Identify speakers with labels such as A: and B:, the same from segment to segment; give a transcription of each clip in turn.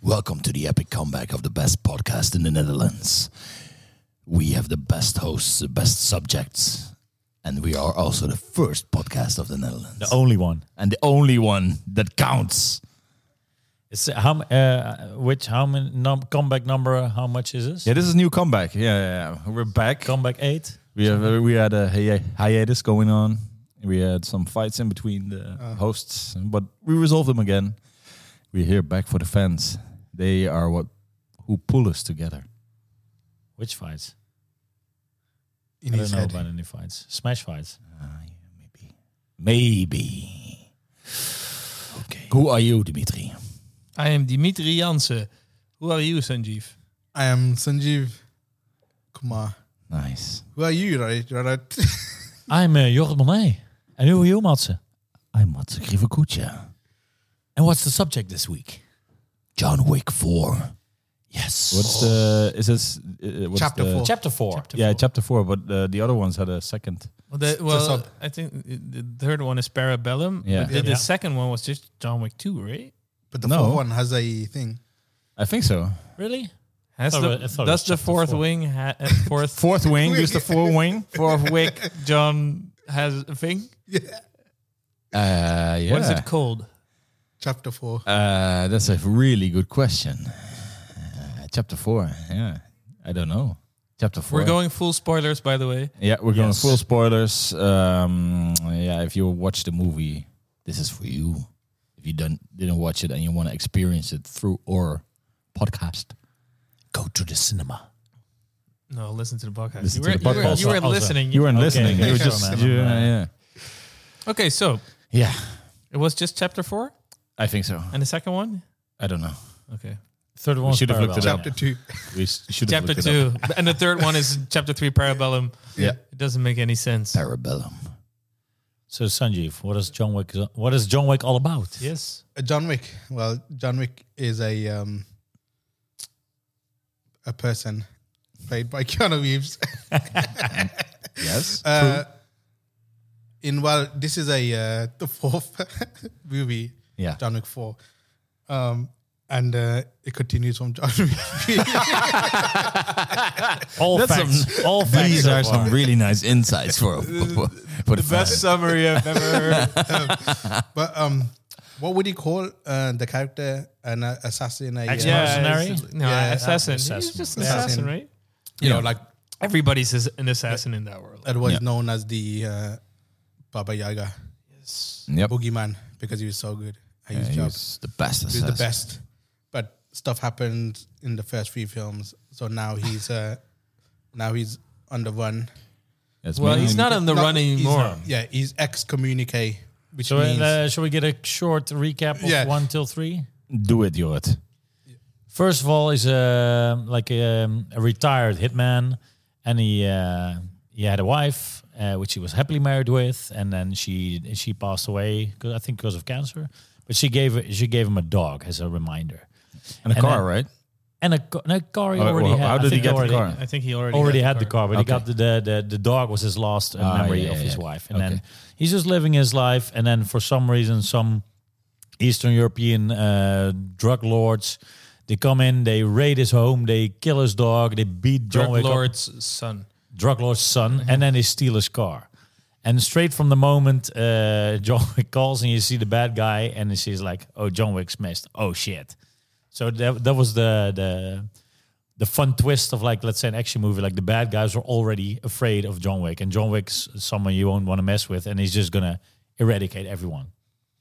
A: Welcome to the epic comeback of the best podcast in the Netherlands. We have the best hosts, the best subjects, and we are also the first podcast of the Netherlands.
B: The only one.
A: and the only one that counts.
B: It's uh, how m- uh, which how many num- comeback number? uh, How much is this?
C: Yeah, this is new comeback. Yeah, yeah, yeah. we're back.
B: Comeback eight.
C: We have uh, we had a hi- hiatus going on. We had some fights in between the hosts, but we resolved them again. We're here back for the fans. They are what who pull us together.
B: Which fights?
D: in
B: I
D: his
B: don't know
D: head.
B: about any fights. Smash fights.
A: Ah, Maybe. Maybe. Okay. Who are you, Dimitri?
E: I am Dimitri Jansen. Who are you, Sanjeev?
D: I am Sanjeev Kumar.
C: Nice.
D: Who are you, right? Right?
B: I'm uh, Jorrit Monet. And who are you, Matze?
A: I'm Matze Krivokucha.
B: And what's the subject this week?
A: John Wick 4.
B: Yes.
C: What's the is this uh, what's
D: Chapter
C: the-
D: four.
B: chapter four?
C: Yeah, chapter four. But uh, the other ones had a second.
E: Well, the,
D: sub.
E: well I think the third one is Parabellum.
C: Yeah.
E: But the, the
B: Yeah.
E: second one was just John Wick 2, right?
D: But the
C: No.
D: fourth one has a thing.
C: I think so.
B: Really?
E: Has
B: I
E: the-
B: thought it- I thought it was
E: does the
B: chapter
E: fourth
B: four.
E: wing ha- uh, fourth
C: Fourth wing. There's the four wing.
E: fourth wick John has a thing?
C: Uh, yeah.
E: What is it called?
D: Chapter four.
C: Uh, that's a really good question. Uh, chapter four. Yeah, I don't know. Chapter 4
E: We're going full spoilers, by the way.
C: Yeah, we're going
B: Yes.
C: full spoilers. Um, yeah, if you watch the movie,
A: This is for you. If you don't, didn't watch it and you want to experience it through our podcast, go to the cinema.
E: No, listen to the podcast.
C: Listen
E: you were,
C: to the
E: you were-
C: podcast.
E: you were
B: Also- also.
E: listening.
C: you weren't listening.
B: okay,
C: You were
B: sure,
C: just
B: man.
C: you- yeah.
E: okay, so
A: Yeah,
E: it was just chapter four
C: I think so.
E: and the second one?
C: I don't know.
E: Okay.
B: Third one.
C: should have looked it up.
D: Chapter two.
C: We s- should have
E: Chapter
C: looked it up.
E: two. and the third one is chapter three, Parabellum.
C: Yeah.
E: It doesn't make any sense.
A: Parabellum.
B: So Sanjeev, what is John Wick? What is John Wick all about?
E: yes.
D: Uh, John Wick. Well, John Wick is a um, a person played by Keanu Reeves.
C: Yes.
D: Uh, in well, this is a uh, the fourth movie.
C: Yeah.
D: John Wick four, um, and uh, it continues from John Wick.
B: All
C: That's
B: facts. all facts.
A: These
B: so
A: are
B: far.
A: some really nice insights for, for, for the
E: Best summary I've ever heard.
D: But um, what would you call uh, the character an uh, assassin? A, uh,
B: Ex-mercenary?
E: it's- No,
D: Yeah,
E: assassin. He's
B: assassin.
E: just an
D: Assassin.
E: assassin, right?
D: you know, like
E: Everybody's is- an assassin in that world.
D: that was known as the uh, Baba Yaga
C: Yep.
D: boogeyman because he was so good at his
C: He
D: job.
C: was the best.
D: He was the
C: assassin.
D: best. But stuff happened in the first three films, so now he's uh, now he's on the run.
C: That's
E: Well, he's
C: mean-
E: not on the
D: No,
E: run
D: he's
E: anymore.
D: not. Yeah, he's excommunicate, which
B: So,
D: means
B: uh, shall we get a short recap of
D: Yeah.
B: one till three?
C: Do it, Jorrit.
B: First of all, he's a like um, a retired hitman, and he uh, he had a wife, uh, which he was happily married with, and then she she passed away, 'cause- I think because of cancer. But she gave she gave him a dog as a reminder,
C: And a
B: And
C: car,
B: then-
C: right?
B: and a, co- and a car he
C: Oh,
B: already
C: well,
B: had.
C: how
B: I
C: did he
B: think
C: get the
B: already-
C: car?
E: I think he already,
B: already had the car, but
C: Okay.
B: he got the, the the the dog was his last uh,
C: Ah,
B: memory
C: yeah,
B: of
C: yeah,
B: his
C: yeah.
B: wife, and
C: Okay.
B: then he's just living his life. And then for some reason, some Eastern European uh, drug lords they come in, they raid his home, they kill his dog, they beat John
E: Drug
B: Wick up-
E: Lord's son.
B: drug lord's son, and then they steal his car. And straight from the moment uh, John Wick calls and you see the bad guy, and she's like, "Oh, John Wick's missed. Oh shit!" So that that was the the the fun twist of like let's say an action movie. Like the bad guys are already afraid of John Wick, and John Wick's someone you won't want to mess with, and he's just gonna eradicate everyone.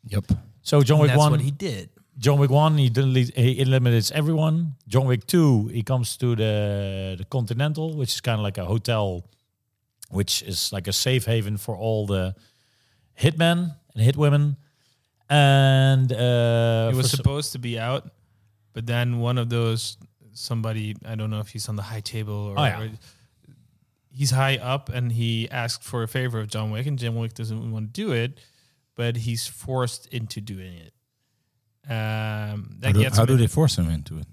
C: Yep.
B: So John Wick
E: That's
B: one,
E: what he did.
B: John Wick one, he delete, he eliminates everyone. John Wick two, he comes to the the Continental, which is kind of like a hotel, which is like a safe haven for all the hitmen and hitwomen. And uh,
E: He was
B: for so-
E: supposed to be out, but then one of those somebody I don't know if he's on the high table or,
B: Oh, yeah.
E: or- he's high up and he asked for a favor of John Wick and John Wick doesn't want to do it, but he's forced into doing it. Um, that
C: How do,
E: gets
C: how
E: him
C: do they force him into it?
E: in-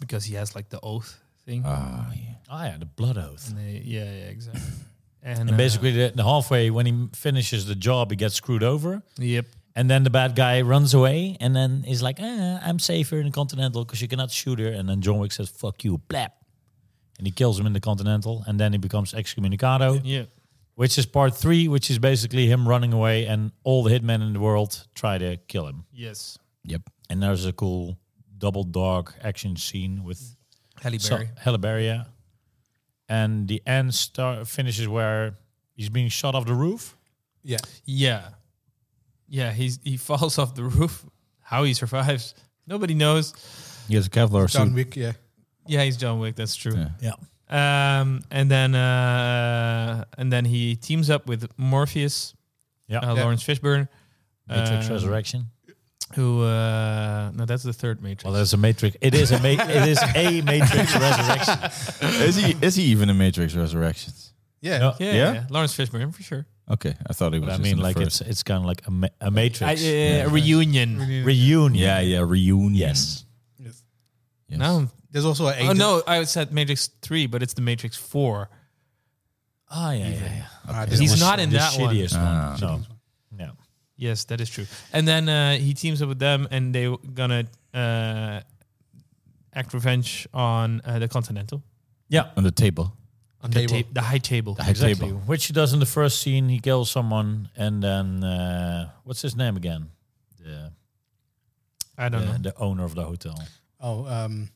E: because he has like the oath thing.
C: Ah, yeah.
B: ah, yeah, the blood oath.
E: And they- yeah, yeah, exactly. And,
B: And
E: uh,
B: basically, the, the halfway when he finishes the job, he gets screwed over,
E: yep,
B: And then the bad guy runs away and then is like, "Ah, I'm safer in the Continental because you cannot shoot her. And then John Wick says, fuck you, blap. And he kills him in the Continental and then he becomes excommunicado,
E: Yeah.
B: which is part three, which is basically him running away and all the hitmen in the world try to kill him.
E: Yes.
C: Yep.
B: And there's a cool double dog action scene with
E: Halle
B: so, Halle Berry, yeah. And the end star finishes where he's being shot off the roof.
D: Yeah.
E: yeah. Yeah. He's he falls off the roof. How he survives, nobody knows.
C: He has a Kevlar
D: John
C: suit.
D: Wick, yeah.
E: Yeah, he's John Wick. That's true.
C: Yeah.
B: Yeah.
E: Um, and then uh, and then he teams up with Morpheus,
B: Yeah.
E: uh,
D: Yeah.
E: Lawrence Fishburne,
B: Matrix
E: um,
B: Resurrection.
E: who uh, no, that's the third Matrix.
B: Well, there's a Matrix. It is a ma- it is a Matrix Resurrection.
C: is he is he even in Matrix Resurrections?
D: Yeah.
B: No,
E: yeah,
C: Yeah?
E: yeah, Lawrence Fishburne for sure.
C: Okay, I thought he was.
B: But I
C: just
B: mean,
C: in the
B: like
C: first.
B: it's it's kind of like a, ma- a
E: I, uh,
B: Matrix
E: a reunion.
B: reunion. Mm.
C: yeah, yeah, reunion.
B: Yes.
D: Yes.
C: Yes.
E: No,
D: There's also an
E: oh
D: agent.
E: no, I said Matrix Three, but it's the Matrix Four.
B: Ah, yeah, yeah, yeah.
D: Ah,
B: This
D: there's
E: He's
B: was
E: not in
B: the
E: that one.
B: shittiest
C: Ah.
B: one. No. No.
E: Yes, that is true. And then uh, he teams up with them, and they gonna uh, act revenge on uh, the Continental
B: Yeah.
C: on the table.
E: on the,
D: Table.
E: ta- the high table.
C: The high
B: Exactly.
C: table.
B: Which he does in the first scene. He kills someone, and then uh, what's his name again? The,
E: I don't
B: the,
E: know.
B: the owner of the hotel.
D: Oh, um,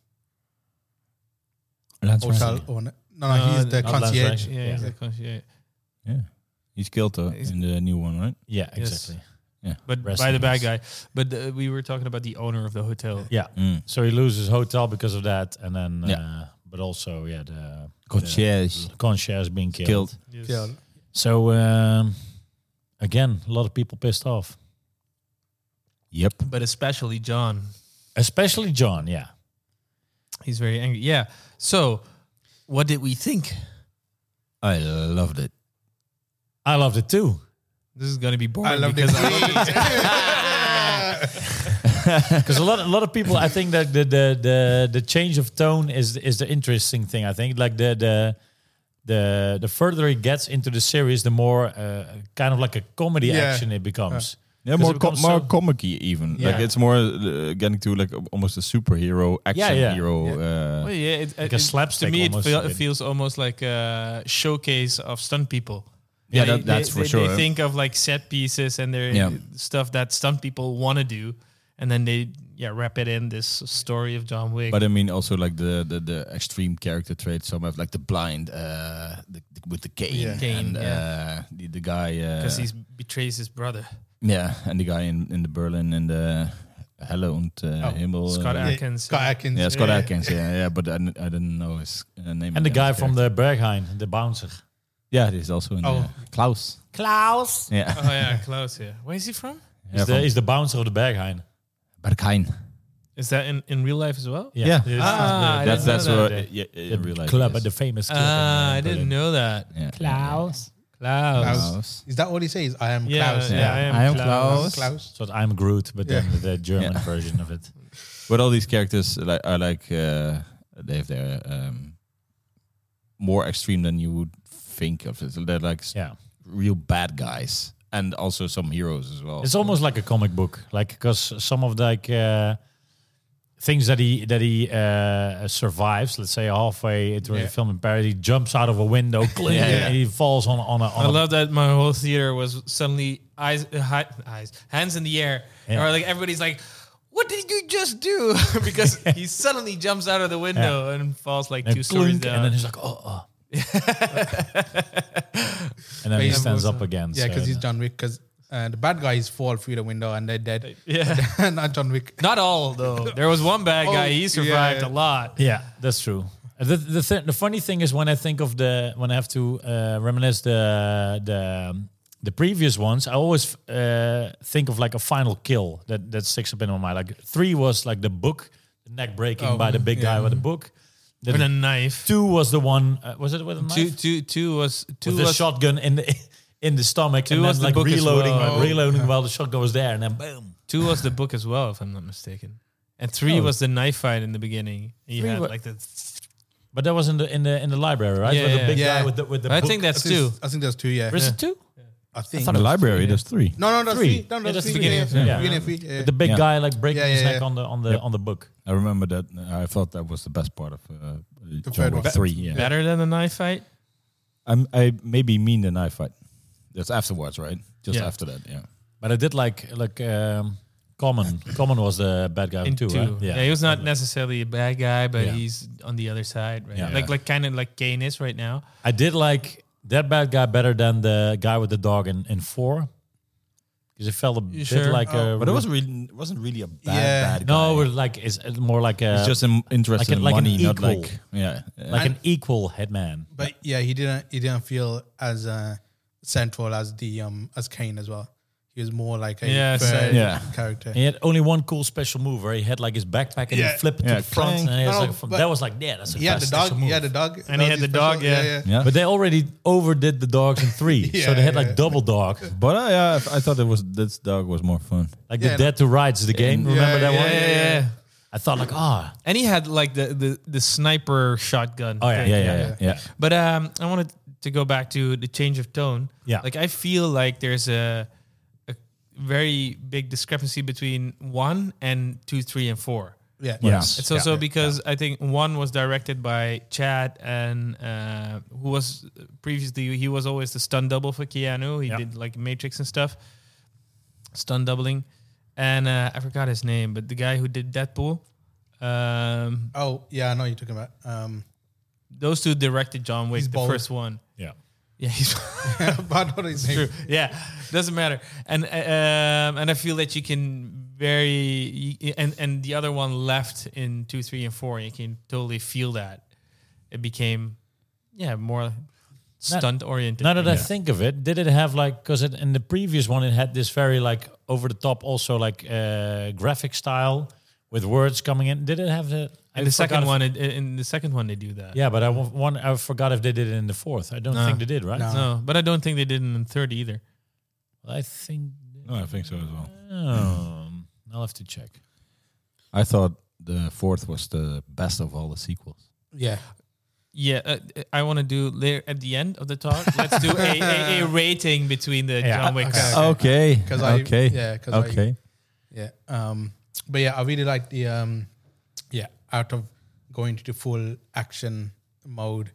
C: That's
B: Oh,
D: hotel owner. No, no, he's the
B: not Lance
D: concierge.
B: Reich.
E: Yeah,
B: Yeah.
E: exactly, yeah.
C: Yeah, he's killed though
E: Is-
C: in the new one, right?
B: Yeah,
E: Yes.
B: exactly.
E: But
B: Rest
E: by
B: in
E: the bad
B: peace.
E: guy. But uh, we were talking about the owner of the hotel.
B: Yeah.
C: Mm.
B: So he loses hotel because of that, and then
C: Yeah.
B: uh, but also yeah the
C: Concierge
B: the concierge being killed.
C: killed.
E: Yes.
D: Yeah.
B: So um, again, a lot of people pissed off,
C: Yep.
E: But especially John.
B: especially John. Yeah,
E: He's very angry. Yeah. So, what did we think?
C: I loved it.
B: I loved it too.
E: This is going to be boring.
D: I love
E: because
D: this.
E: I love it.
B: Because a lot, a lot of people, I think that the the the, the change of tone is is the interesting thing. I think like the the the the further it gets into the series, the more uh, kind of like a comedy
D: Yeah.
B: action it becomes.
C: Yeah,
B: 'Cause
C: more
B: it
C: com-
B: becomes
C: more
B: so-
C: comic even. Like
E: Yeah.
C: it's more uh, getting to like almost a superhero action
B: yeah.
C: hero. Uh,
E: Well, Oh, yeah, it,
B: a
E: it-
B: slapstick
E: To me, it,
B: almost,
E: feel,
B: a
E: it
B: bit.
E: feels almost like a showcase of stunt people.
C: Yeah,
E: They-
C: that- that's
E: they-
C: for
E: they- They
C: sure.
E: think of like set pieces and their
C: Yeah.
E: stuff that stunt people want to do, and then they yeah wrap it in this story of John Wick.
C: But I mean, also like the the, the extreme character traits. Some have like the blind, uh, the, the- with the cane,
D: Yeah.
E: Cane,
C: and uh, the, the guy. Uh,
E: because he betrays his brother.
C: yeah, and the guy in, in the Berlin and the Hello und uh,
D: Oh,
C: Himmel.
E: Scott
C: uh,
E: Atkins.
D: Scott Atkins.
C: yeah, Scott Atkins. Yeah, yeah, but I, didn't- I didn't know his uh, name.
B: And the
C: again,
B: guy
C: his
B: from
C: character.
B: the Berghain, the bouncer.
C: yeah, he's also in
D: Oh.
C: uh, Klaus. Klaus. Yeah,
E: oh yeah, Klaus. Yeah, where is he from?
C: yeah
B: Is the, is the bouncer of the Berghain.
C: Berghain.
E: Is that in, in real life as well?
C: Yeah.
B: This is
E: Ah, I
B: the,
C: That's
E: didn't know
C: that's what
E: that.
C: uh, yeah, in real life.
B: club,
C: yes.
B: the famous club. in,
E: Ah,
B: uh,
E: I
B: Berlin.
E: didn't know that.
C: Yeah.
E: Klaus. Klaus.
C: Klaus.
D: Is that all he says? I am
E: Yeah,
D: Klaus.
E: yeah,
C: Yeah.
E: I am,
C: I am
E: Klaus.
D: Klaus.
B: So I'm Groot, but
D: Yeah.
B: then the German
C: Yeah.
B: version of it.
C: But all these characters uh, like are like uh, they have their um, more extreme than you would think of. it. They're like s-
B: Yeah,
C: real bad guys and also some heroes as well.
B: it's almost like a comic book, like because some of the, like uh, things that he that he uh, survives. Let's say halfway through the
D: Yeah.
B: film in Paris, he jumps out of a window, clean,
D: yeah.
B: and he falls on on a. On
E: I
B: a-
E: love that my whole theater was suddenly eyes, uh, hi, eyes, hands in the air,
B: Yeah.
E: or like everybody's like, "What did you just do?" because he suddenly jumps out of the window and falls like
B: and
E: two stories
B: clunk, and
E: down.
B: then he's like, oh, oh. and then he
D: Yeah,
B: stands
E: but-
B: up again.
D: Yeah,
B: so-
D: because he's John Wick. Because uh, the bad guys fall through the window and they're dead.
E: yeah,
D: Not John Wick.
E: not all though. There was one bad guy.
D: Oh,
E: He survived
D: yeah.
E: a lot.
B: Yeah, that's true. Uh, The the, th- the funny thing is when I think of the when I have to uh, reminisce the the um, the previous ones, I always uh, think of like a final kill that that sticks up in my mind. Like three was like the book, the neck breaking
D: Oh,
B: by the big guy
D: yeah.
B: with the book. The,
E: With a knife.
B: two was the one. Uh, was it with a knife?
E: Two, two, two was two
B: with the
E: was
B: shotgun in the in the stomach
E: Two
B: and
E: was
B: then
E: the
B: like
E: book as
B: reloading,
E: well.
B: reloading while the shotgun was there, and then boom.
E: two was the book as well, if I'm not mistaken. And three
B: Oh.
E: was the knife fight in the beginning. You
B: Three
E: had
B: wa-
E: like the.
B: But that was in the in the in the library, right?
E: Yeah,
B: with
E: yeah,
B: the big
D: yeah.
B: guy with the with the.
E: I
B: book.
E: think that's
D: I think- I
E: two.
D: think there's two. Yeah.
B: Is it two?
D: I think.
C: the library, there's three.
D: no, no, that's
B: Three.
D: three.
B: Yeah,
D: No, that's
B: that's the
D: three.
B: beginning
D: Yeah,
B: of-
D: yeah,
B: yeah.
D: beginning of three, yeah.
B: The big
C: Yeah.
B: guy like breaking
D: Yeah,
B: his
D: yeah,
B: neck
D: yeah.
B: on the on the
C: Yep.
B: on the book.
C: I remember that. I thought that was the best part of uh, John
D: third
C: Wick
D: one.
C: three. Yeah,
E: Better than the knife fight?
C: I'm, I maybe mean the knife fight. That's afterwards, right? Just
E: Yeah.
C: after that, yeah.
B: But I did like like um, Common. Common was the bad guy
E: In
B: too.
E: two.
B: Right?
E: Yeah. he was not necessarily a bad guy, but
B: Yeah.
E: he's on the other side, right?
B: Yeah.
E: Like like kind of like Kane is right now.
B: I did like that bad guy better than the guy with the dog in, in four. Because it felt a bit
E: sure?
B: like a.
C: Oh, But it was really wasn't really a bad
D: Yeah.
C: bad guy.
B: No, it's like it's more like a.
C: it's just an interest
B: like an-
C: in
B: like an
C: money, not
B: equal.
C: like yeah.
B: like an equal headman.
D: But yeah, he didn't. He didn't feel as uh, central as the um as Kane as well. He was more like a
E: Yeah,
D: third
E: same.
C: Yeah.
D: character.
B: He had only one cool special move where he had like his backpack and
D: Yeah.
B: he flipped
C: Yeah,
B: to the front.
C: clang.
B: And he was
D: No, no,
B: like, from,
D: but-
B: that was like, yeah, that's a
D: He had the
B: fast
D: dog.
B: special
D: He
B: move.
D: had the dog,
E: And
D: that
E: he had
D: was
E: the
D: his
E: dog, yeah.
C: yeah.
B: But they already overdid the dogs in three. so
D: Yeah,
B: they had like
D: yeah.
B: double dog.
C: But I, uh, I thought it was this dog was more fun.
B: Like
D: Yeah,
B: the Dead to Rights, the game. Remember that one?
E: yeah.
B: I thought like, ah,
E: And he had like the the, the sniper shotgun.
B: Oh, yeah,
E: thing.
B: yeah,
C: Yeah, yeah, yeah.
E: But um, I wanted to go back to the change of tone.
B: Yeah.
E: Like I feel like there's a a very big discrepancy between one and two, three, and four.
D: yeah,
C: Yes.
E: It's also because I think one was directed by Chad and uh, who was previously he was always the stunt double for Keanu. He
B: Yeah.
E: did like Matrix and stuff, stunt doubling, and uh, I forgot his name, but the guy who did Deadpool. Um,
D: Oh yeah, I know what you're talking about. Um,
E: those two directed John Wick,
D: He's
E: the
D: bald.
E: first one.
B: yeah.
E: Yeah, he's
D: but I don't know his
E: true.
D: name.
E: Yeah, doesn't matter. And uh, um, and I feel that you can very y- and and the other one left in two, three, and four. You can totally feel that it became, yeah, more stunt oriented.
B: Now that I think of it, did it have like because in the previous one it had this very like over the top also like uh, graphic style with words coming in. Did it have the? I
E: and the second
B: forgot if-
E: one, it, in the second one, they do that.
B: yeah, but I wa- one I forgot if they did it in the fourth. I don't
E: No.
B: think they did, right?
D: No.
E: No, but I don't think they did it in the third either.
B: I think.
C: No, I think so as well.
B: Um, I'll have to check.
C: I thought the fourth was the best of all the sequels.
D: Yeah,
E: Yeah, uh, I want to do later at the end of the talk. Let's do a, a, a rating between the
B: Yeah.
E: John Wicks.
D: Okay.
C: Okay.
D: 'Cause I-
C: okay.
D: yeah, 'cause I-
C: okay.
D: yeah. Um, but yeah, I really like the um, yeah, out of going to the full action mode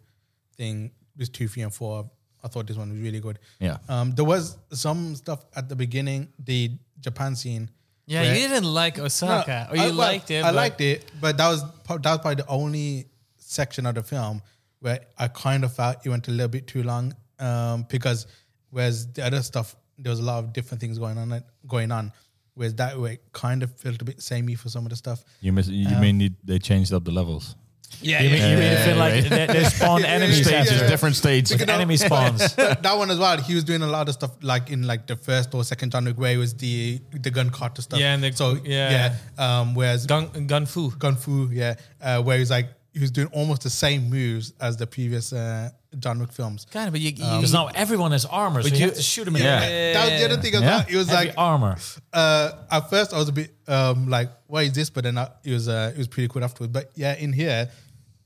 D: thing with two, three, and four. I thought this one was really good.
C: yeah.
D: Um, there was some stuff at the beginning, the Japan scene.
E: Yeah,
D: where-
E: you didn't like Osaka, or you
D: I, well,
E: liked it.
D: I
E: but-
D: liked it, but that was prob- that was probably the only section of the film where I kind of felt it went a little bit too long. Um, because whereas the other stuff, there was a lot of different things going on going on. Whereas that way it kind of felt a bit samey for some of the stuff.
C: You miss. You mean need, they changed up the levels?
D: Yeah,
B: You mean, you mean it feel like they, they spawn
D: Yeah, yeah,
B: enemy
D: yeah,
B: stages,
D: yeah.
B: different stages,
D: Because now-
B: enemy spawns.
D: But that one as well. He was doing a lot of stuff like in like the first or second John Wick, where it was the the gun carter stuff.
E: Yeah, and the-
D: so
E: yeah.
D: yeah. Um, whereas
E: Gun, Gun Fu.
D: Kung Fu, yeah, uh, where he's like he was doing almost the same moves as the previous uh, John Wick films.
E: Kind of, but you, you,
B: Because now everyone has armor, so you,
E: you-
B: have to shoot him in
C: Yeah.
B: the head.
D: That was the other thing as well.
C: Yeah.
D: It was
B: Heavy
D: like
B: armor.
D: uh, at first I was a bit um, like, "What is this?" But then I, it was uh, it was pretty cool afterwards. But yeah, in here,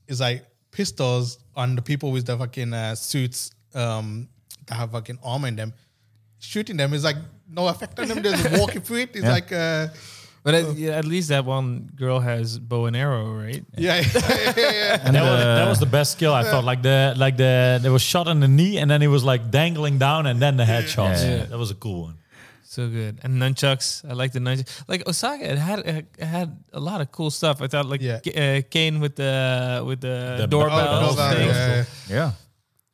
D: it's like pistols on the people with the fucking uh, suits um, that have fucking armor in them. Shooting them is like no effect on them. They're just walking through it. It's
C: Yeah.
D: like uh,
E: but at, yeah, uh, at least that one girl has bow and arrow, right?
D: yeah, yeah, yeah.
B: that, was, that was the best skill I thought. Like the like the there was shot in the knee and then he was like dangling down and then the headshots.
C: Yeah.
B: That was a cool one.
E: So good. And nunchucks, I like the nunchucks. Like Osaka, it had it had a lot of cool stuff. I thought like
D: Yeah.
E: K- uh, Kane with the with the,
B: The
E: doorbell.
B: bell
D: Oh,
B: doorbell,
E: thing.
D: yeah.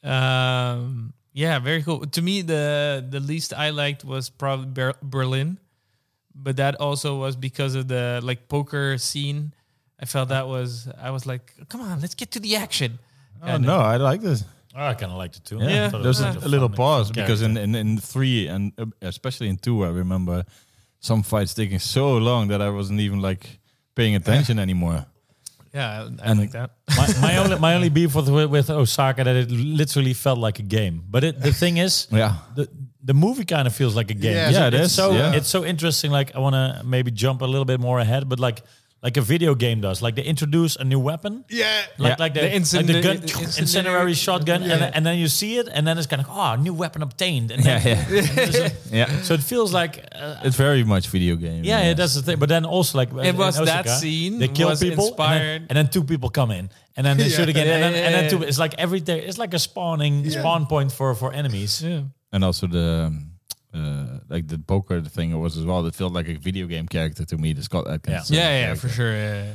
C: Yeah.
E: Um, yeah, very cool. To me, the the least I liked was probably Ber- Berlin, but that also was because of the like poker scene. I felt that was I was like, come on, let's get to the action.
C: Oh, no, I like this.
B: Oh, I kind of liked it too.
C: Yeah,
B: I thought it
C: there's
B: was
C: a,
B: like
C: a little
B: fun
C: pause
B: character.
C: because in, in in three and uh, especially in two, I remember some fights taking so long that I wasn't even like paying attention anymore.
E: Yeah, I, I
C: And-
E: like that.
B: my, my only my only beef with with Osaka that it literally felt like a game. But it, the thing is,
C: Yeah,
B: the the movie kind of feels like a game.
D: Yeah. Yeah,
C: it
B: it's
C: is.
B: So
C: Yeah.
B: it's so interesting. Like I want to maybe jump a little bit more ahead, but like. like a video game does. Like they introduce a new weapon.
D: Yeah.
C: Yeah.
B: Like, like the,
E: The
B: like the
E: incendary-
B: gun,
E: the
B: incendiary
E: incendiary-
B: shotgun, and, then- and then you see it, and then it's kind of oh, new weapon obtained, and then,
C: yeah, yeah. yeah.
B: so it feels like uh,
C: It's very much video game.
B: yeah,
C: yes.
B: that's the thing. But then also like
E: It was that scene
B: they kill
E: was
B: people, and then-
E: inspired-
B: and then, two people come in, and then they
D: Yeah.
B: shoot again, and then,
E: Yeah,
B: and
E: yeah,
B: then two.
E: yeah.
B: It's like every day, it's like a spawning spawn point for for enemies.
E: Yeah.
C: and also the um, uh, like the poker thing was as well. That felt like a video game character to me. The Scott Atkins,
E: Yeah,
C: uh,
E: yeah,
C: character,
E: for sure. Yeah. yeah.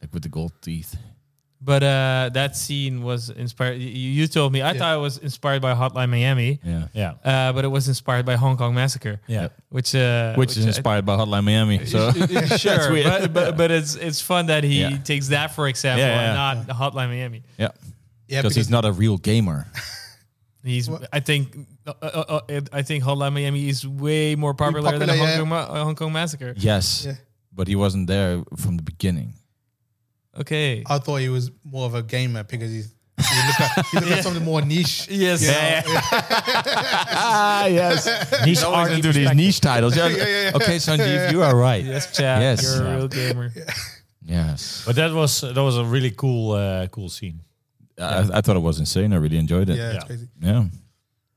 C: like with the gold teeth.
E: But uh, that scene was inspired. You, you told me. I
D: Yeah.
E: thought it was inspired by Hotline Miami,
C: Yeah,
B: Yeah,
E: uh, but it was inspired by Hong Kong Massacre.
B: yeah.
E: Which, uh,
C: which, is
E: I-
C: inspired by Hotline Miami. So
E: sure,
C: weird.
E: but, but but it's it's fun that he
C: Yeah.
E: takes that for example
C: Yeah, yeah,
E: and not Hotline Miami.
C: yeah,
D: Yeah,
C: because he's not a real gamer.
E: He's I think uh, uh, uh, I think Hotline Miami is way more popular, than
D: popular,
E: Hong,
D: yeah.
E: Kong, Ma- uh, Hong Kong Massacre.
C: yes,
D: Yeah.
C: but he wasn't there from the beginning.
E: Okay.
D: I thought he was more of a gamer because he's. He looked like, he looked like something more niche.
E: yes.
D: Yeah.
C: ah, yes.
B: Niche
C: Always
B: arty
C: into these
B: perspective.
C: niche titles. Yeah. Okay, Sanjeev, you are right.
E: Yes, Chad.
C: Yes.
E: You're
B: Yeah.
E: a real gamer.
C: Yes,
B: But that was that was a really cool uh, cool scene.
C: I, I thought it was insane. I really enjoyed it.
D: Yeah,
B: Yeah.
D: it's crazy.
C: yeah.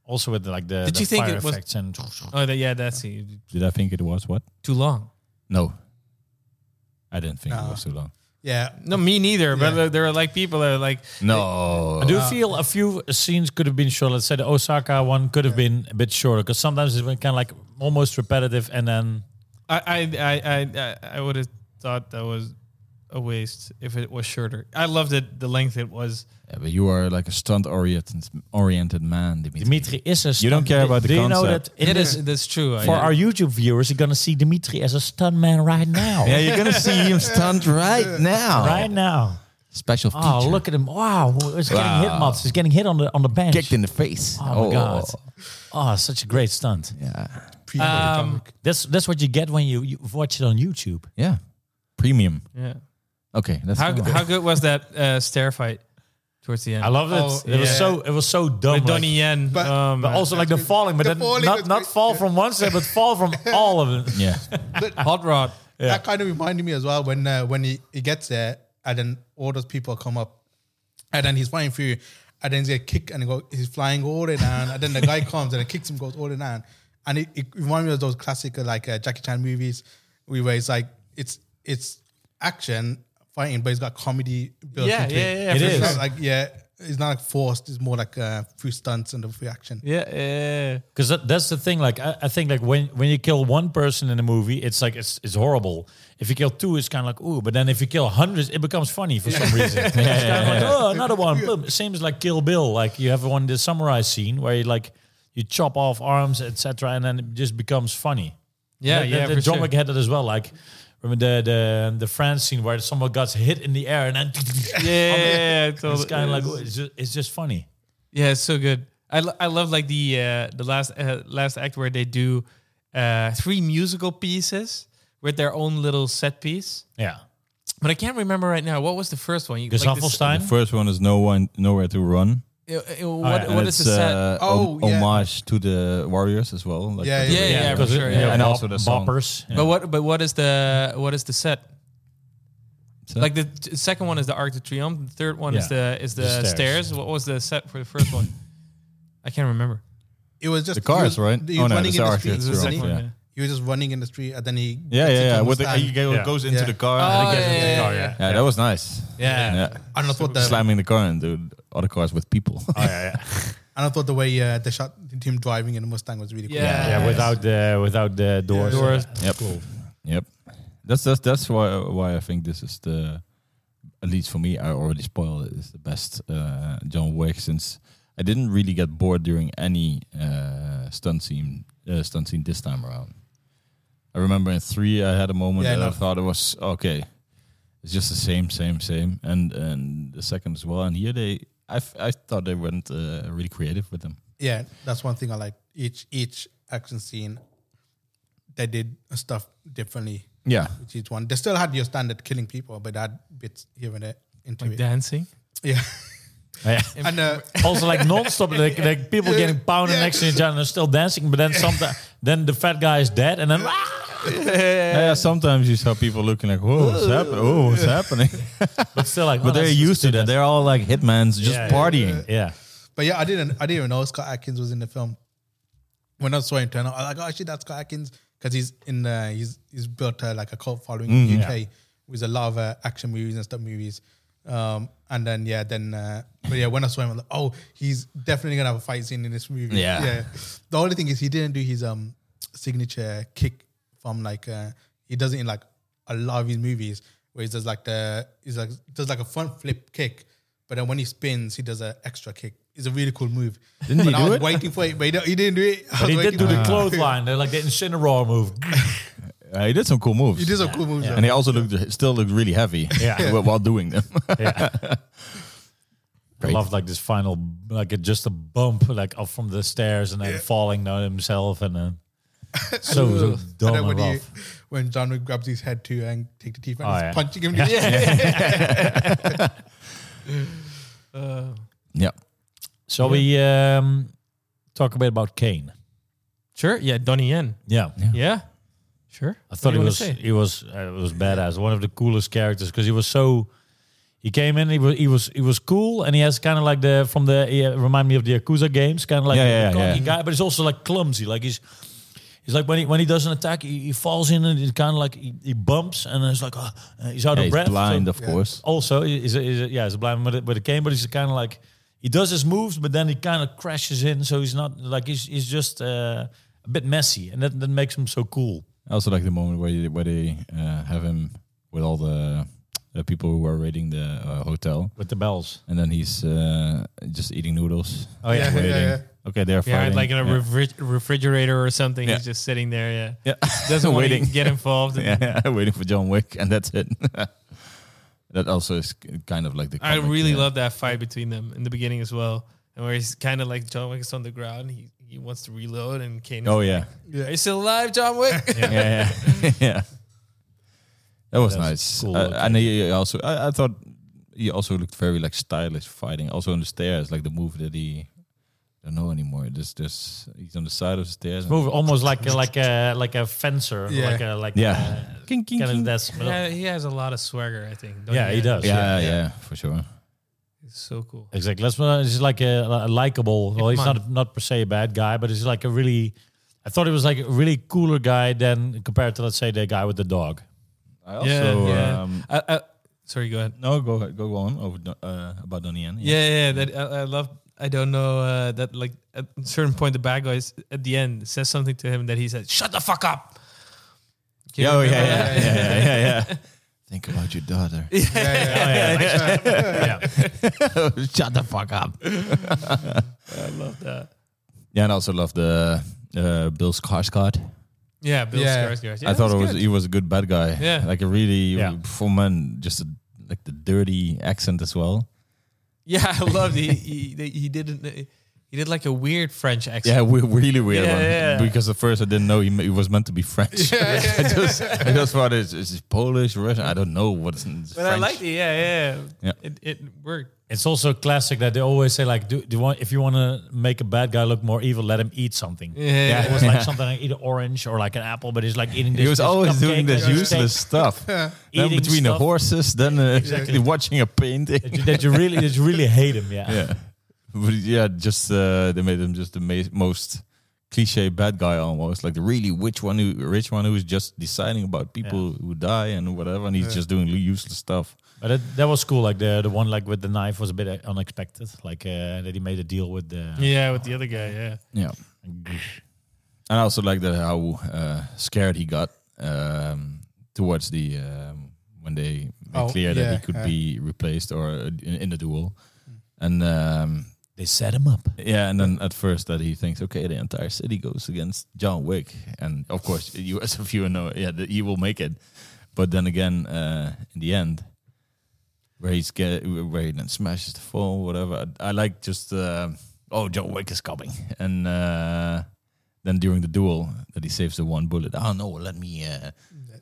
B: Also with like the,
E: Did
B: the
E: you think
B: fire
E: it was-
B: effects and
E: Oh, that, yeah. That's it.
C: Did I think it was what?
E: too long.
C: No, I didn't think it
D: No.
C: was too long.
D: Yeah.
E: No, me neither. But
D: Yeah.
E: uh, there are like people that are like,
C: No,
B: I do feel a few scenes could have been short. Let's say the Osaka one could have been a bit shorter because sometimes it's been kind of like almost repetitive, and then
E: I I I I, I would have thought that was a waste if it was shorter. I loved it the length it was.
C: Yeah, but you are like a stunt oriented oriented man, Dimitri.
B: Dimitri is a. Stunt.
C: You don't care about the
B: Do you know that
C: concept.
B: in
E: It
B: this,
E: is. That's true. I-
B: for our YouTube viewers, you're gonna see Dimitri as a stuntman right now,
C: Yeah, you're gonna see him stunt right now.
B: right now.
C: Special
B: Oh,
C: feature.
B: look at him! Wow, he's
C: Wow.
B: getting hit, Mats. He's getting hit on the on the bench.
C: Kicked in the face.
B: Oh, my god! Oh, such a great stunt.
C: Yeah.
E: um,
B: That's that's what you get when you, you watch it on YouTube.
C: Yeah. Premium.
E: yeah.
C: Okay. That's
E: How
C: fine.
E: how good was that uh, stair fight towards the end?
B: I love it.
D: Oh,
B: it was
D: yeah.
B: so it was so dumb.
E: With
B: like-
E: Donnie Yen.
D: But-
E: um,
B: But also like the falling, but
D: The
B: then
D: falling
B: not,
D: was
B: not
D: great.
B: fall from one side, but fall from all of them.
C: Yeah.
E: hot rod.
D: That kind of reminded me as well when uh, when he, he gets there and then all those people come up and then he's flying through and then he's get kicked and he go, he's flying all the way down and then the guy comes and he kicks him goes all the way down and it, it reminded me of those classic uh, like uh, Jackie Chan movies we where it's like it's it's action fighting but it's got comedy built
E: Yeah,
D: into
E: yeah,
D: it.
E: yeah, It
B: for
D: It's
B: is.
D: not like yeah it's not like forced it's more like uh, through stunts and through action
E: Yeah, yeah.
B: Because that, that's the thing. Like I, I think, like when when you kill one person in a movie, it's like it's it's horrible. If you kill two, it's kind of like ooh. But then if you kill hundreds, it becomes funny for some reason. It's kind of like oh, another one. Boom. Same as like Kill Bill. Like you have one the samurai scene where you like you chop off arms, etc., and then it just becomes funny.
E: Yeah,
B: the,
E: yeah,
B: The,
E: for
B: John
E: sure.
B: Wick had it as well. Like remember the the the France scene where someone gets hit in the air and then
E: Yeah, yeah, yeah, totally.
B: it's kind of like it's just, it's just funny.
E: yeah, it's so good. I, lo- I love like the uh, the last uh, last act where they do uh, three musical pieces with their own little set piece.
B: Yeah.
E: But I can't remember right now. What was the first one? You, this-
B: Gesaffelstein?
C: The first one is no one nowhere to run.
E: uh, uh,
B: yeah,
E: what,
B: and
C: And
E: what is
C: it's
E: the set?
C: uh,
D: Oh,
C: hom-
D: yeah.
C: homage to the Warriors as well. Like
D: Yeah,
C: with the-
E: yeah, yeah, for
B: because
E: sure.
B: it-
E: Yeah.
C: And
B: bop-
C: also the song.
B: boppers.
E: But what but what is the what is the set?
C: Set?
E: Like the t- second one is the Arc de Triomphe. The third one is
B: Yeah.
E: the is the,
B: The stairs.
E: stairs. What was the set for the first one? I can't remember.
D: it was just
C: The cars,
D: he was-
C: right?
D: he
C: Oh,
D: was
C: no,
D: running
C: it's
D: in the
C: ours,
D: street
C: it's
E: The
C: Triomphe,
E: second one,
C: yeah.
E: yeah.
D: he was just running in the street and then he
C: Yeah,
D: gets
C: yeah,
D: hit
C: yeah.
D: on
C: With the,
D: stand.
C: he go-
B: Yeah.
C: goes into
D: Yeah.
C: the car.
E: Oh,
C: and he
E: yeah,
C: gets-
E: yeah, yeah.
B: yeah.
C: yeah, that was nice.
E: Yeah.
C: yeah.
D: And I thought the
C: Slamming the car into other cars with people.
D: And I thought the way uh, they shot him driving in a Mustang was really cool.
E: Yeah.
B: Yeah,
E: Yes.
B: without the without the doors.
E: Doors.
C: Yep. Yep. That's that's that's why why I think this is the at least for me I already spoiled it is the best uh, John Wick since I didn't really get bored during any uh, stunt scene uh, stunt scene this time around. I remember in three I had a moment
D: Yeah,
C: that I
D: no.
C: thought it was okay. It's just the same, same, same, and and the second as well. And here they, I f- I thought they went uh, really creative with them.
D: Yeah, that's one thing I like. Each each action scene, they did stuff differently.
C: Yeah,
D: With each one, they still had your standard killing people, but they had bits here and there into
E: Like
D: it.
E: dancing.
D: Yeah,
B: Yeah.
D: and uh,
B: also, like nonstop, like, like people getting pounded next to each other and still dancing. But then sometimes, then the fat guy is dead, and then
C: Yeah, sometimes you saw people looking like, "Whoa, what's happening? Oh, what's happening?"
B: But still, like,
C: But they're used to that. They're all like hitmans, just
B: Yeah, yeah,
C: partying.
B: yeah.
D: But yeah, I didn't I didn't even know Scott Atkins was in the film. When I saw him turn up, I was like, oh shit, that's Scott Atkins because he's in uh, he's he's built uh, like a cult following in the UK with a lot of uh, action movies and stuff movies. Um, and then yeah, then uh, but yeah, when I saw him, I was like, oh, he's definitely gonna have a fight scene in this movie.
C: Yeah.
D: The only thing is he didn't do his um signature kick from like uh, he does it in like a lot of his movies where he does like the he's like does like a front flip kick, but then when he spins, he does an extra kick. It's a really cool move. Didn't
C: he
D: I
C: do
D: was
C: it?
D: waiting for it, but uh, he, don't- he didn't do it.
B: But
D: I was
B: he did
D: waiting
B: do
D: for
B: the
D: it.
B: clothesline. They're like the Incineroar move.
C: Uh, he did some cool moves.
D: He did some cool moves.
C: and
D: though.
C: he also looked still looked really heavy
B: Yeah.
C: while- while doing them.
B: Yeah. I
C: Great.
B: loved like this final, like a, just a bump, like up from the stairs and then falling down himself and then so, so dumb
D: And
B: and,
D: then when, he,
B: rough.
D: when John Wick grabs his head too and take the teeth out,
B: Oh,
D: he's
B: yeah. Oh,
D: punching him.
E: Uh,
C: yeah.
B: Shall we um, talk a bit about Kane?
E: sure. Yeah, Donnie Yen.
B: Yeah,
E: Yeah. Sure.
B: I thought he
E: do you wanna
B: was
E: say?
B: he was uh, was badass. One of the coolest characters because he was so. He came in. He was he was he was cool, and he has kind of like the from the he, uh, remind me of the Yakuza games, kind of like
C: Yeah,
B: a
C: yeah, yeah,
B: cocky guy, but he's also like clumsy. Like he's he's like when he when he does an attack, he, he falls in and he kind of like he, he bumps, and it's like uh, uh, he's out
C: Yeah,
B: of
C: he's
B: breath. so-
C: blind, of course.
B: also is is yeah he's a blind man with a, with a cane, but he's kind of like he does his moves, but then he kind of crashes in, so he's not like he's he's just uh, a bit messy, and that that makes him so cool.
C: I also like the moment where you, where they uh, have him with all the uh, people who are raiding the uh, hotel,
B: With the bells.
C: and then he's uh, just eating noodles.
B: Oh yeah.
C: waiting.
D: yeah.
C: Okay, they're
E: Yeah,
C: fighting.
E: like in a refri- refrigerator or something.
C: Yeah.
E: He's just sitting there. Yeah.
C: yeah.
E: Doesn't want to
C: Waiting.
E: get involved.
C: yeah, waiting for John Wick, and that's it. that also is kind of like the.
E: I
C: comic,
E: really
C: yeah.
E: love that fight between them in the beginning as well, and where he's kind of like John Wick's on the ground. He he wants to reload, and Kane.
C: Oh
E: is
C: yeah,
E: like, Are you still alive, John Wick?
C: yeah, yeah. yeah. That was
B: That's
C: nice.
B: cool
C: Uh,
B: looking.
C: and he also, I, I thought he also looked very like stylish fighting. Also on the stairs, like the move that he. I don't know anymore. This, this, he's on the side of the stairs.
B: Move almost like like a like a fencer,
D: Yeah.
B: like a like
C: Yeah.
B: a,
C: King, king,
B: kind of
C: king.
B: that's
E: yeah, he has a lot of swagger. I think. don't
B: yeah he does
C: yeah, yeah, for sure.
E: He's so cool.
B: exactly. That's what he's like a, a likable. Well, he's not not per se a bad guy, but he's like a really. I thought he was like a really cooler guy than compared to let's say the guy with the dog.
C: I
E: yeah,
C: also,
E: yeah.
C: Um,
E: I, I, sorry, go ahead.
C: no, go ahead, go on over Don- uh, about Donnie Yen.
E: Yeah, yeah. that I, I love. I don't know uh, that. Like at a certain point, the bad guy is, at the end says something to him that he said, "Shut the fuck up." Can you
C: Yeah, oh, yeah,
E: remember
C: yeah,
E: that?
C: yeah, yeah, yeah, yeah, yeah. Think about your daughter.
B: yeah,
C: Shut the fuck up.
E: I love that.
C: Yeah, and I also love the uh, Bill Skarsgård.
E: Yeah, Bill
D: Yeah.
E: Skarsgård.
C: I thought it was
E: good.
C: he was a good bad guy.
E: Yeah.
C: like a really
B: Yeah.
C: full man, just a, like the dirty accent as well.
E: Yeah, I loved. He he they- he did not he did like a weird French accent.
C: Yeah, we, really weird
E: Yeah,
C: one.
E: yeah.
C: Because at first I didn't know he, ma- he was meant to be French. I just I just thought it's, it's just Polish, Russian. I don't know what's French.
E: but I liked it. Yeah, yeah.
C: Yeah.
E: It it worked.
B: It's also classic that they always say like, do, do you want if you want to make a bad guy look more evil, let him eat something.
E: Yeah.
B: It was like something like eat an orange or like an apple, but he's like eating. This,
C: He was
B: this
C: always doing
B: cupcake,
C: this useless
B: like, steak.
C: stuff. then
B: Eating
C: between the
B: stuff.
C: horses, then uh, watching a painting.
B: that you, that you really that you really hate him. Yeah.
C: yeah. But yeah, just uh, they made him just the ma- most cliche bad guy almost, like the really rich one who rich one who is just deciding about people who die and whatever, and he's just doing useless stuff.
B: But that, that was cool. Like the the one like with the knife was a bit uh, unexpected. Like uh, that he made a deal with the
E: Yeah, with the other guy. Yeah.
C: Yeah, and I also like that how uh, scared he got um, towards the um, when they made
D: Oh,
C: clear
D: yeah,
C: that he could
D: yeah. Mm.
C: be replaced or uh, in, in the duel, and. Um,
B: They set him up.
C: Yeah, and then at first that he thinks, okay, the entire city goes against John Wick, and of course, you as a viewer know, yeah, that he will make it. But then again, uh, in the end, where he's get, where he then smashes the phone, whatever. I, I like just, uh, oh, John Wick is coming, and uh, then during the duel that he saves the one bullet. Oh no, let me. Uh,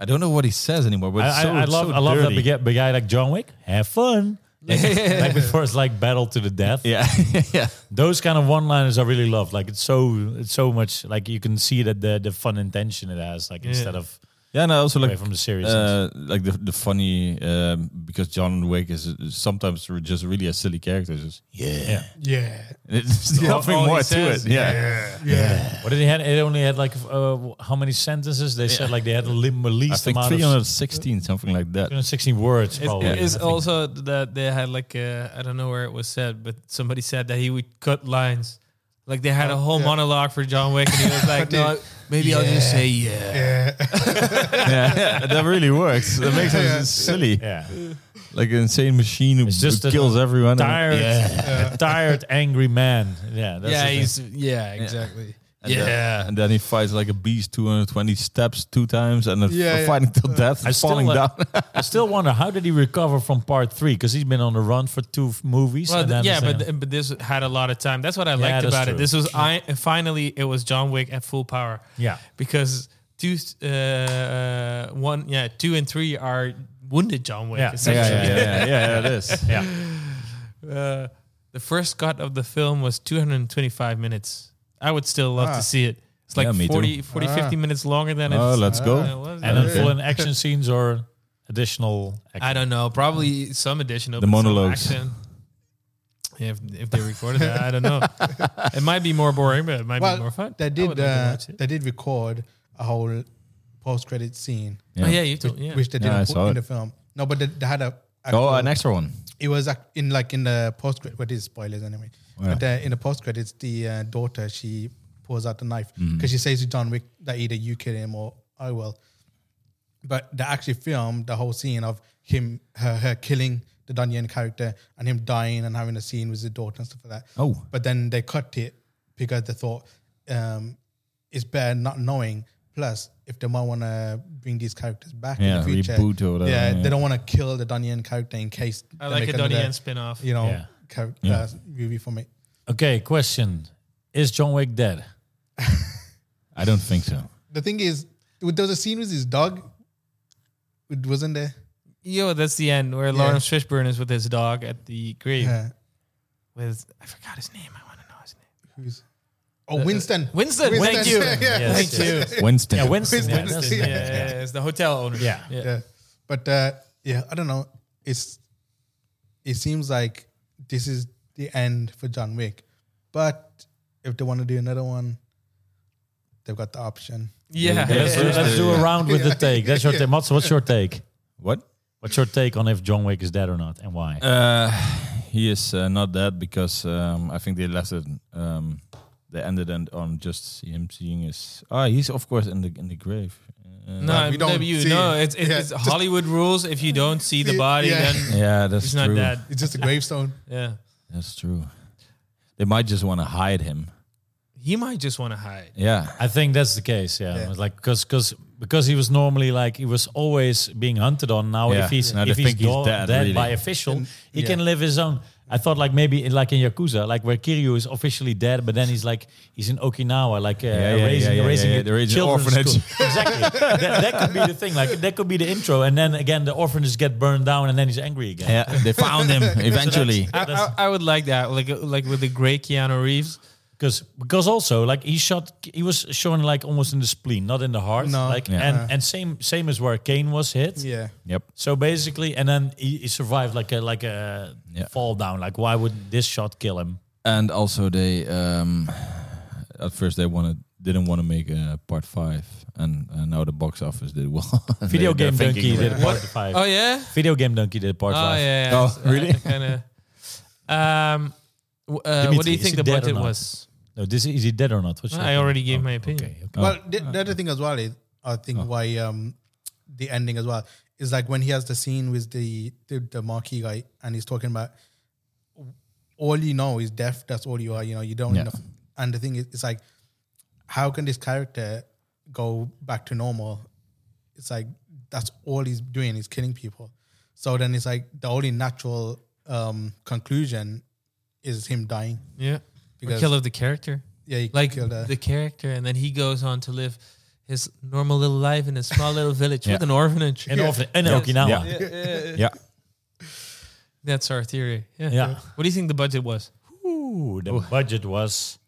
C: I don't know what he says anymore, but
B: I,
C: it's so,
B: I, I
C: it's
B: love
C: so
B: I love that
C: dirty.
B: big, guy- big guy like John Wick. Have fun. like before it's like battle to the death.
C: Yeah, yeah.
B: Those kind of one liners I really love. Like it's so it's so much like you can see that the the fun intention it has. Like instead of
C: Yeah, and I also
B: away
C: like
B: from the series.
C: uh, like the the funny um, because John Wick is is sometimes re- just really a silly character. Just
A: Yeah.
D: Yeah.
C: it's nothing
E: all he
C: more to
E: says,
C: it. Yeah.
B: what did he had? It only had like uh, how many sentences? They said like they had the lim-
C: I
B: least
C: think
B: amount of
C: 316 something like that.
B: 316 words. Probably.
E: It is
B: I think.
E: also that they had like uh, I don't know where it was said, but somebody said that he would cut lines. Like they had a whole monologue for John Wick, and he was like, "No, maybe I'll just say yeah."
C: yeah, yeah, that really works. That makes him silly,
B: yeah.
C: like an insane machine who
B: It's just
C: who
B: a
C: kills everyone.
B: Tired, a tired, angry man. Yeah, that's
E: yeah,
B: the thing.
E: he's yeah, exactly.
C: And
E: yeah.
C: then- and then he fights like a beast, 220 steps two times, and then
D: Yeah, Uh, yeah.
C: fighting till death,
B: I
C: and
B: still
C: falling
B: like-
C: down.
B: I still wonder how did he recover from part three because he's been on the run for two f- movies.
E: Well,
B: and then
E: yeah,
B: it's
E: but
B: like-
E: th- but this had a lot of time. That's what I
B: Yeah,
E: liked
B: that's
E: about
B: true.
E: it. This was I finally it was John Wick at full power.
B: yeah,
E: because two, uh, one, yeah, two and three are wounded John Wick.
B: Yeah.
E: essentially.
C: yeah, yeah, it is.
B: yeah,
E: Uh, the first cut of the film was 225 minutes. I would still love
D: Ah.
E: to see it. It's like
C: Yeah, me too.
E: 40, 40 50 minutes longer than
C: Oh,
E: it's-
C: let's
E: uh,
C: go.
E: was.
B: and then
E: I
B: full in action scenes or additional. Action.
E: don't know. Probably some additional
C: The
E: but some
C: monologues.
E: action. Yeah, if, if they recorded that, I don't know. It might be more boring, but it might be more fun. I
D: uh, They
E: would
D: did.
E: like to
D: Uh,
E: watch it.
D: they did record a whole post-credit scene,
E: Oh, yeah, you told.
D: which,
E: Yeah.
D: which they
C: Yeah, I
D: didn't
C: saw
D: put in
C: it.
D: the film. No, but they, they had a.
C: Oh,
D: actual-
C: an extra one.
D: It was ac- in like in the post credit. What is spoilers anyway?
C: Yeah.
D: But uh, in the post credits, the uh, daughter she pulls out the knife
C: Mm-hmm.
D: because she says to John Wick that either you kill him or I will. But they actually filmed the whole scene of him, her, her killing the Dunyan character and him dying and having a scene with his daughter and stuff like that.
C: Oh.
D: But then they cut it because they thought um, it's better not knowing. Plus, if they might want to bring these characters back in
C: Yeah,
D: the future,
C: reboot or whatever,
D: yeah,
C: yeah.
D: they don't want to kill the Dunyan character in case
E: I
D: they
E: like
D: make
E: a Donnie
D: another-
E: Yen spin off.
D: you know,
B: Yeah.
D: character
C: Yeah.
D: uh, movie for me.
B: Okay, question: Is John Wick dead?
C: I don't think so.
D: The thing is, there was a scene with his dog. It wasn't there.
E: Yo, that's the end where Lawrence Fishburne is with his dog at the grave.
D: Yeah.
E: With I forgot his name. I want to know his name.
D: Who's? Oh, Winston.
E: Uh, Winston. Thank you.
D: yeah.
B: Yes,
E: Thank
B: yes.
E: you.
C: Winston.
B: Yeah, Winston. yeah,
D: Winston,
B: that's
E: Yeah,
B: it.
E: yeah, yeah, it's the hotel owner.
B: Yeah.
E: yeah.
D: Yeah. But uh, yeah, I don't know. It's it seems like this is the end for John Wick, but if they want to do another one, they've got the option.
E: Yeah.
B: Let's, do, let's do a round with the take. That's your take. Mats, what's your take?
C: What?
B: What's your take on if John Wick is dead or not, and why?
C: Uh, he is uh, not dead because um, I think they left it. Um, they ended it on just him seeing his. Ah, he's of course in the in the grave. Uh,
E: No,
D: we don't
E: no, you
D: see
E: know,
D: it.
E: it's it's,
D: Yeah,
E: it's
D: just-
E: Hollywood rules. If you don't see the
D: Yeah.
E: body,
D: Yeah.
E: then
C: Yeah, that's
E: it's
C: true.
E: not dead.
D: It's just a gravestone.
E: Yeah,
C: That's true. They might just want to hide him.
E: he might just want to hide.
C: Yeah.
B: I think that's the case. Yeah, It's like because because because he was normally like he was always being hunted on. Now
C: Yeah.
B: if he's
C: Now they
B: if he's,
C: think he's
B: do- dead,
C: dead, really.
B: by official, he
D: yeah.
B: can live his own. I thought like maybe in- like in Yakuza, like where Kiryu is officially dead, but then he's like he's in Okinawa, like uh,
C: Yeah, yeah,
B: raising
C: yeah, yeah,
B: raising
C: yeah,
B: a
C: they're raising
B: children's
C: orphanage.
B: school. exactly. that, that could be the thing. Like that could be the intro, and then again the orphanages get burned down, and then he's angry again.
C: Yeah, they found him eventually.
E: I, I, I would like that, like uh, like with the great Keanu Reeves.
B: because because also like he shot he was shown like almost in the spleen not in the heart
D: No.
B: like
C: Yeah.
E: Uh.
B: and and same same as where kane was hit
D: Yeah.
C: yep.
B: so basically and then he, he survived like a like a
C: Yeah.
B: fall down like why would this shot kill him
C: And also they um at first they wanted didn't want to make a part five and uh, now the box office did well.
B: video
C: They're
B: game
C: thinking
B: donkey
C: about-
B: did a part five
E: Oh yeah,
B: video game donkey did a part
E: oh
B: five
E: yeah. yeah.
C: Oh,
E: So I-
C: really?
E: I kinda- um, w- uh, what
B: Dimitri,
E: do you
B: is
E: think
B: he
E: the
B: dead or
E: budget
B: not?
E: was?
B: no this is he dead or not What's your
E: I
B: opinion?
E: already gave my opinion.
B: okay, okay.
D: Well, the, the other thing as well is I think why um the ending as well is like when he has the scene with the the, the marquee guy and he's talking about all you know is death. That's all you are. You know, you don't.
C: Yeah.
D: Know. And the thing is, it's like how can this character go back to normal? It's like that's all he's doing is killing people. So then it's like the only natural um conclusion is him dying.
E: Yeah,
D: Because-
E: because kill of the character.
D: Yeah, he
E: like
D: killed her.
E: the character, and then he goes on to live his normal little life in a small little village with
C: Yeah.
E: an orphanage.
B: and often in
E: Yes.
B: okinawa
C: Yeah.
E: Yeah, yeah, yeah.
C: Yeah.
E: That's our theory. Yeah.
B: Yeah.
E: What do you think the budget was?
B: Ooh, the budget was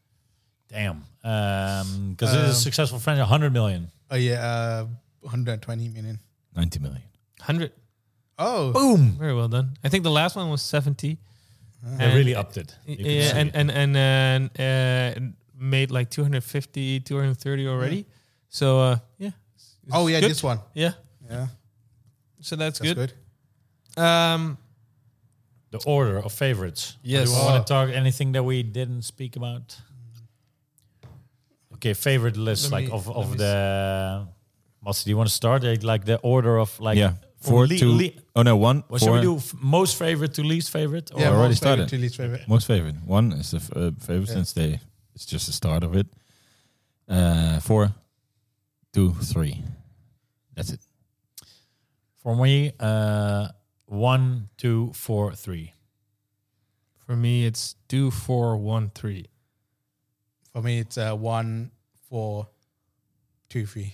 B: Um,
E: Um,
B: damn because it is a successful franchise 100 million
D: oh yeah, uh, 120 million.
C: 90 million.
E: 100.
D: Oh,
B: Boom!
E: Very well done. I think the last one was 70.
B: They really upped it. You can
E: yeah,
B: see
E: and,
B: it.
E: and and and uh, made like 250, 230 already. So uh, yeah. it's- it's
D: oh yeah,
E: good.
D: this one.
E: Yeah.
D: Yeah,
E: So that's,
D: that's good.
E: good. Um,
B: the order of favorites.
E: Yes.
B: Do we want to talk anything that we didn't speak about? Mm. Okay, favorite list
E: Let
B: like
E: me-
B: of
E: let
B: of
E: me
B: the. Mats, do you want to start at, like the order of like?
C: yeah.
B: from
C: Four
B: le-
C: to.
B: le-
C: oh, no, one.
B: Well,
C: four,
B: shall we do f- most favorite to least favorite? Or
D: Yeah,
C: already
D: most favorite
C: started.
D: to least favorite.
C: Most favorite. One is the f- uh, favorite since they. It's just the start of it. Uh, four, two, three. That's it.
B: For me, uh, one, two, four, three.
E: for me, it's two, four, one, three.
D: For me, it's uh, one, four, two, three.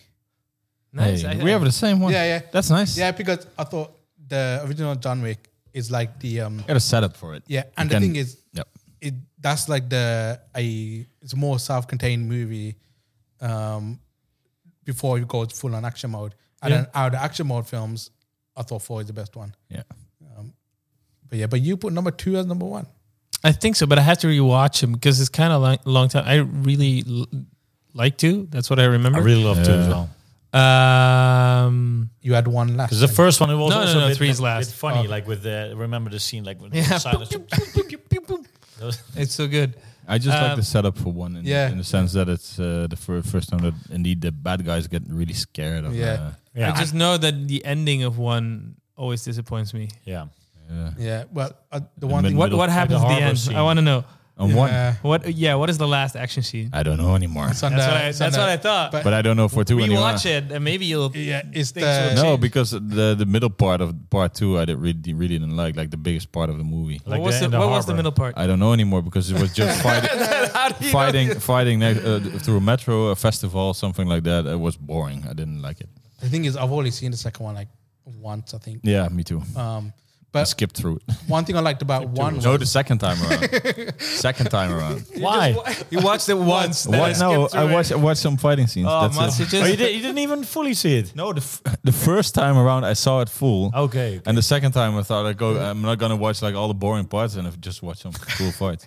E: Nice.
C: Hey,
E: I-
C: we have the same one.
D: Yeah, yeah.
C: That's nice.
D: Yeah, because I thought the original John Wick is like the um
C: Got a setup for it.
D: yeah,
C: You
D: and the
C: can-
D: thing is,
C: Yep.
D: it that's like the a it's more self-contained movie um before you go full on action mode and then out of the action mode films i thought four is the best one Um,
C: Yeah.
D: but yeah but you put number two as number one
E: I think so, but I had to rewatch him because it's kind of long, long time. I really l- like to. That's what I
B: I
E: remember.
B: really love two as
C: Yeah.
B: well.
E: um,
D: you had one last
B: Because the
D: time.
B: first one it was
E: No, no,
B: also
E: no,
B: a bit,
E: three is
B: a
E: last. Oh.
B: bit funny, like with the remember the scene like with
E: Yeah.
B: the silence.
E: it's so good.
C: I just
E: Um,
C: like the setup for one in,
D: yeah.
C: in the sense that it's uh, the fir- first time that indeed the bad guys get really scared of
D: Yeah.
C: uh,
B: yeah,
E: I just know that the ending of one always disappoints me.
B: yeah.
C: yeah.
D: yeah well uh, the one thing
C: middle-
E: What what happens
B: the
E: at the
B: harbor
E: end?
B: scene.
E: I want to know.
C: uh, on one.
D: yeah,
E: What? Yeah. What is the last action scene?
C: I don't know anymore.
D: it's on
E: That's
D: the-
E: what I.
D: it's
E: Uh, That's
D: on
E: what I
D: the-
E: thought.
D: but-
C: But I don't know if we're two
E: We
C: anymore.
E: watch it, and maybe you'll.
D: yeah it's
E: Things will
D: the
E: change.
C: No, because the the middle part of part two, I did really really didn't like, like the biggest part of the movie.
E: What
B: Like
E: was
B: the-
E: the,
B: in the
E: What was the
B: harbor.
E: middle part?
C: I don't know anymore because it was just fighting, fighting, fighting next, uh, through a metro, a festival, something like that. It was boring. I didn't like it.
D: the thing is i've only seen the second one like once i think
C: Yeah, me too.
D: um
C: I
D: but
C: skipped through it.
D: one thing i liked about one was
C: No, the second time around. second time around.
B: Why?
E: You watched it once. then
C: What? No, I
E: skipped through it.
C: watched I watched some fighting scenes.
E: Oh,
C: That's it.
E: Mats, you
B: Oh, you,
E: just.
B: did, you didn't even fully see it.
C: No, the f- the first time around I saw it full,
B: Oh, Okay.
C: and the second time I thought I go. I'm not gonna watch like all the boring parts and I've just watch some cool fights.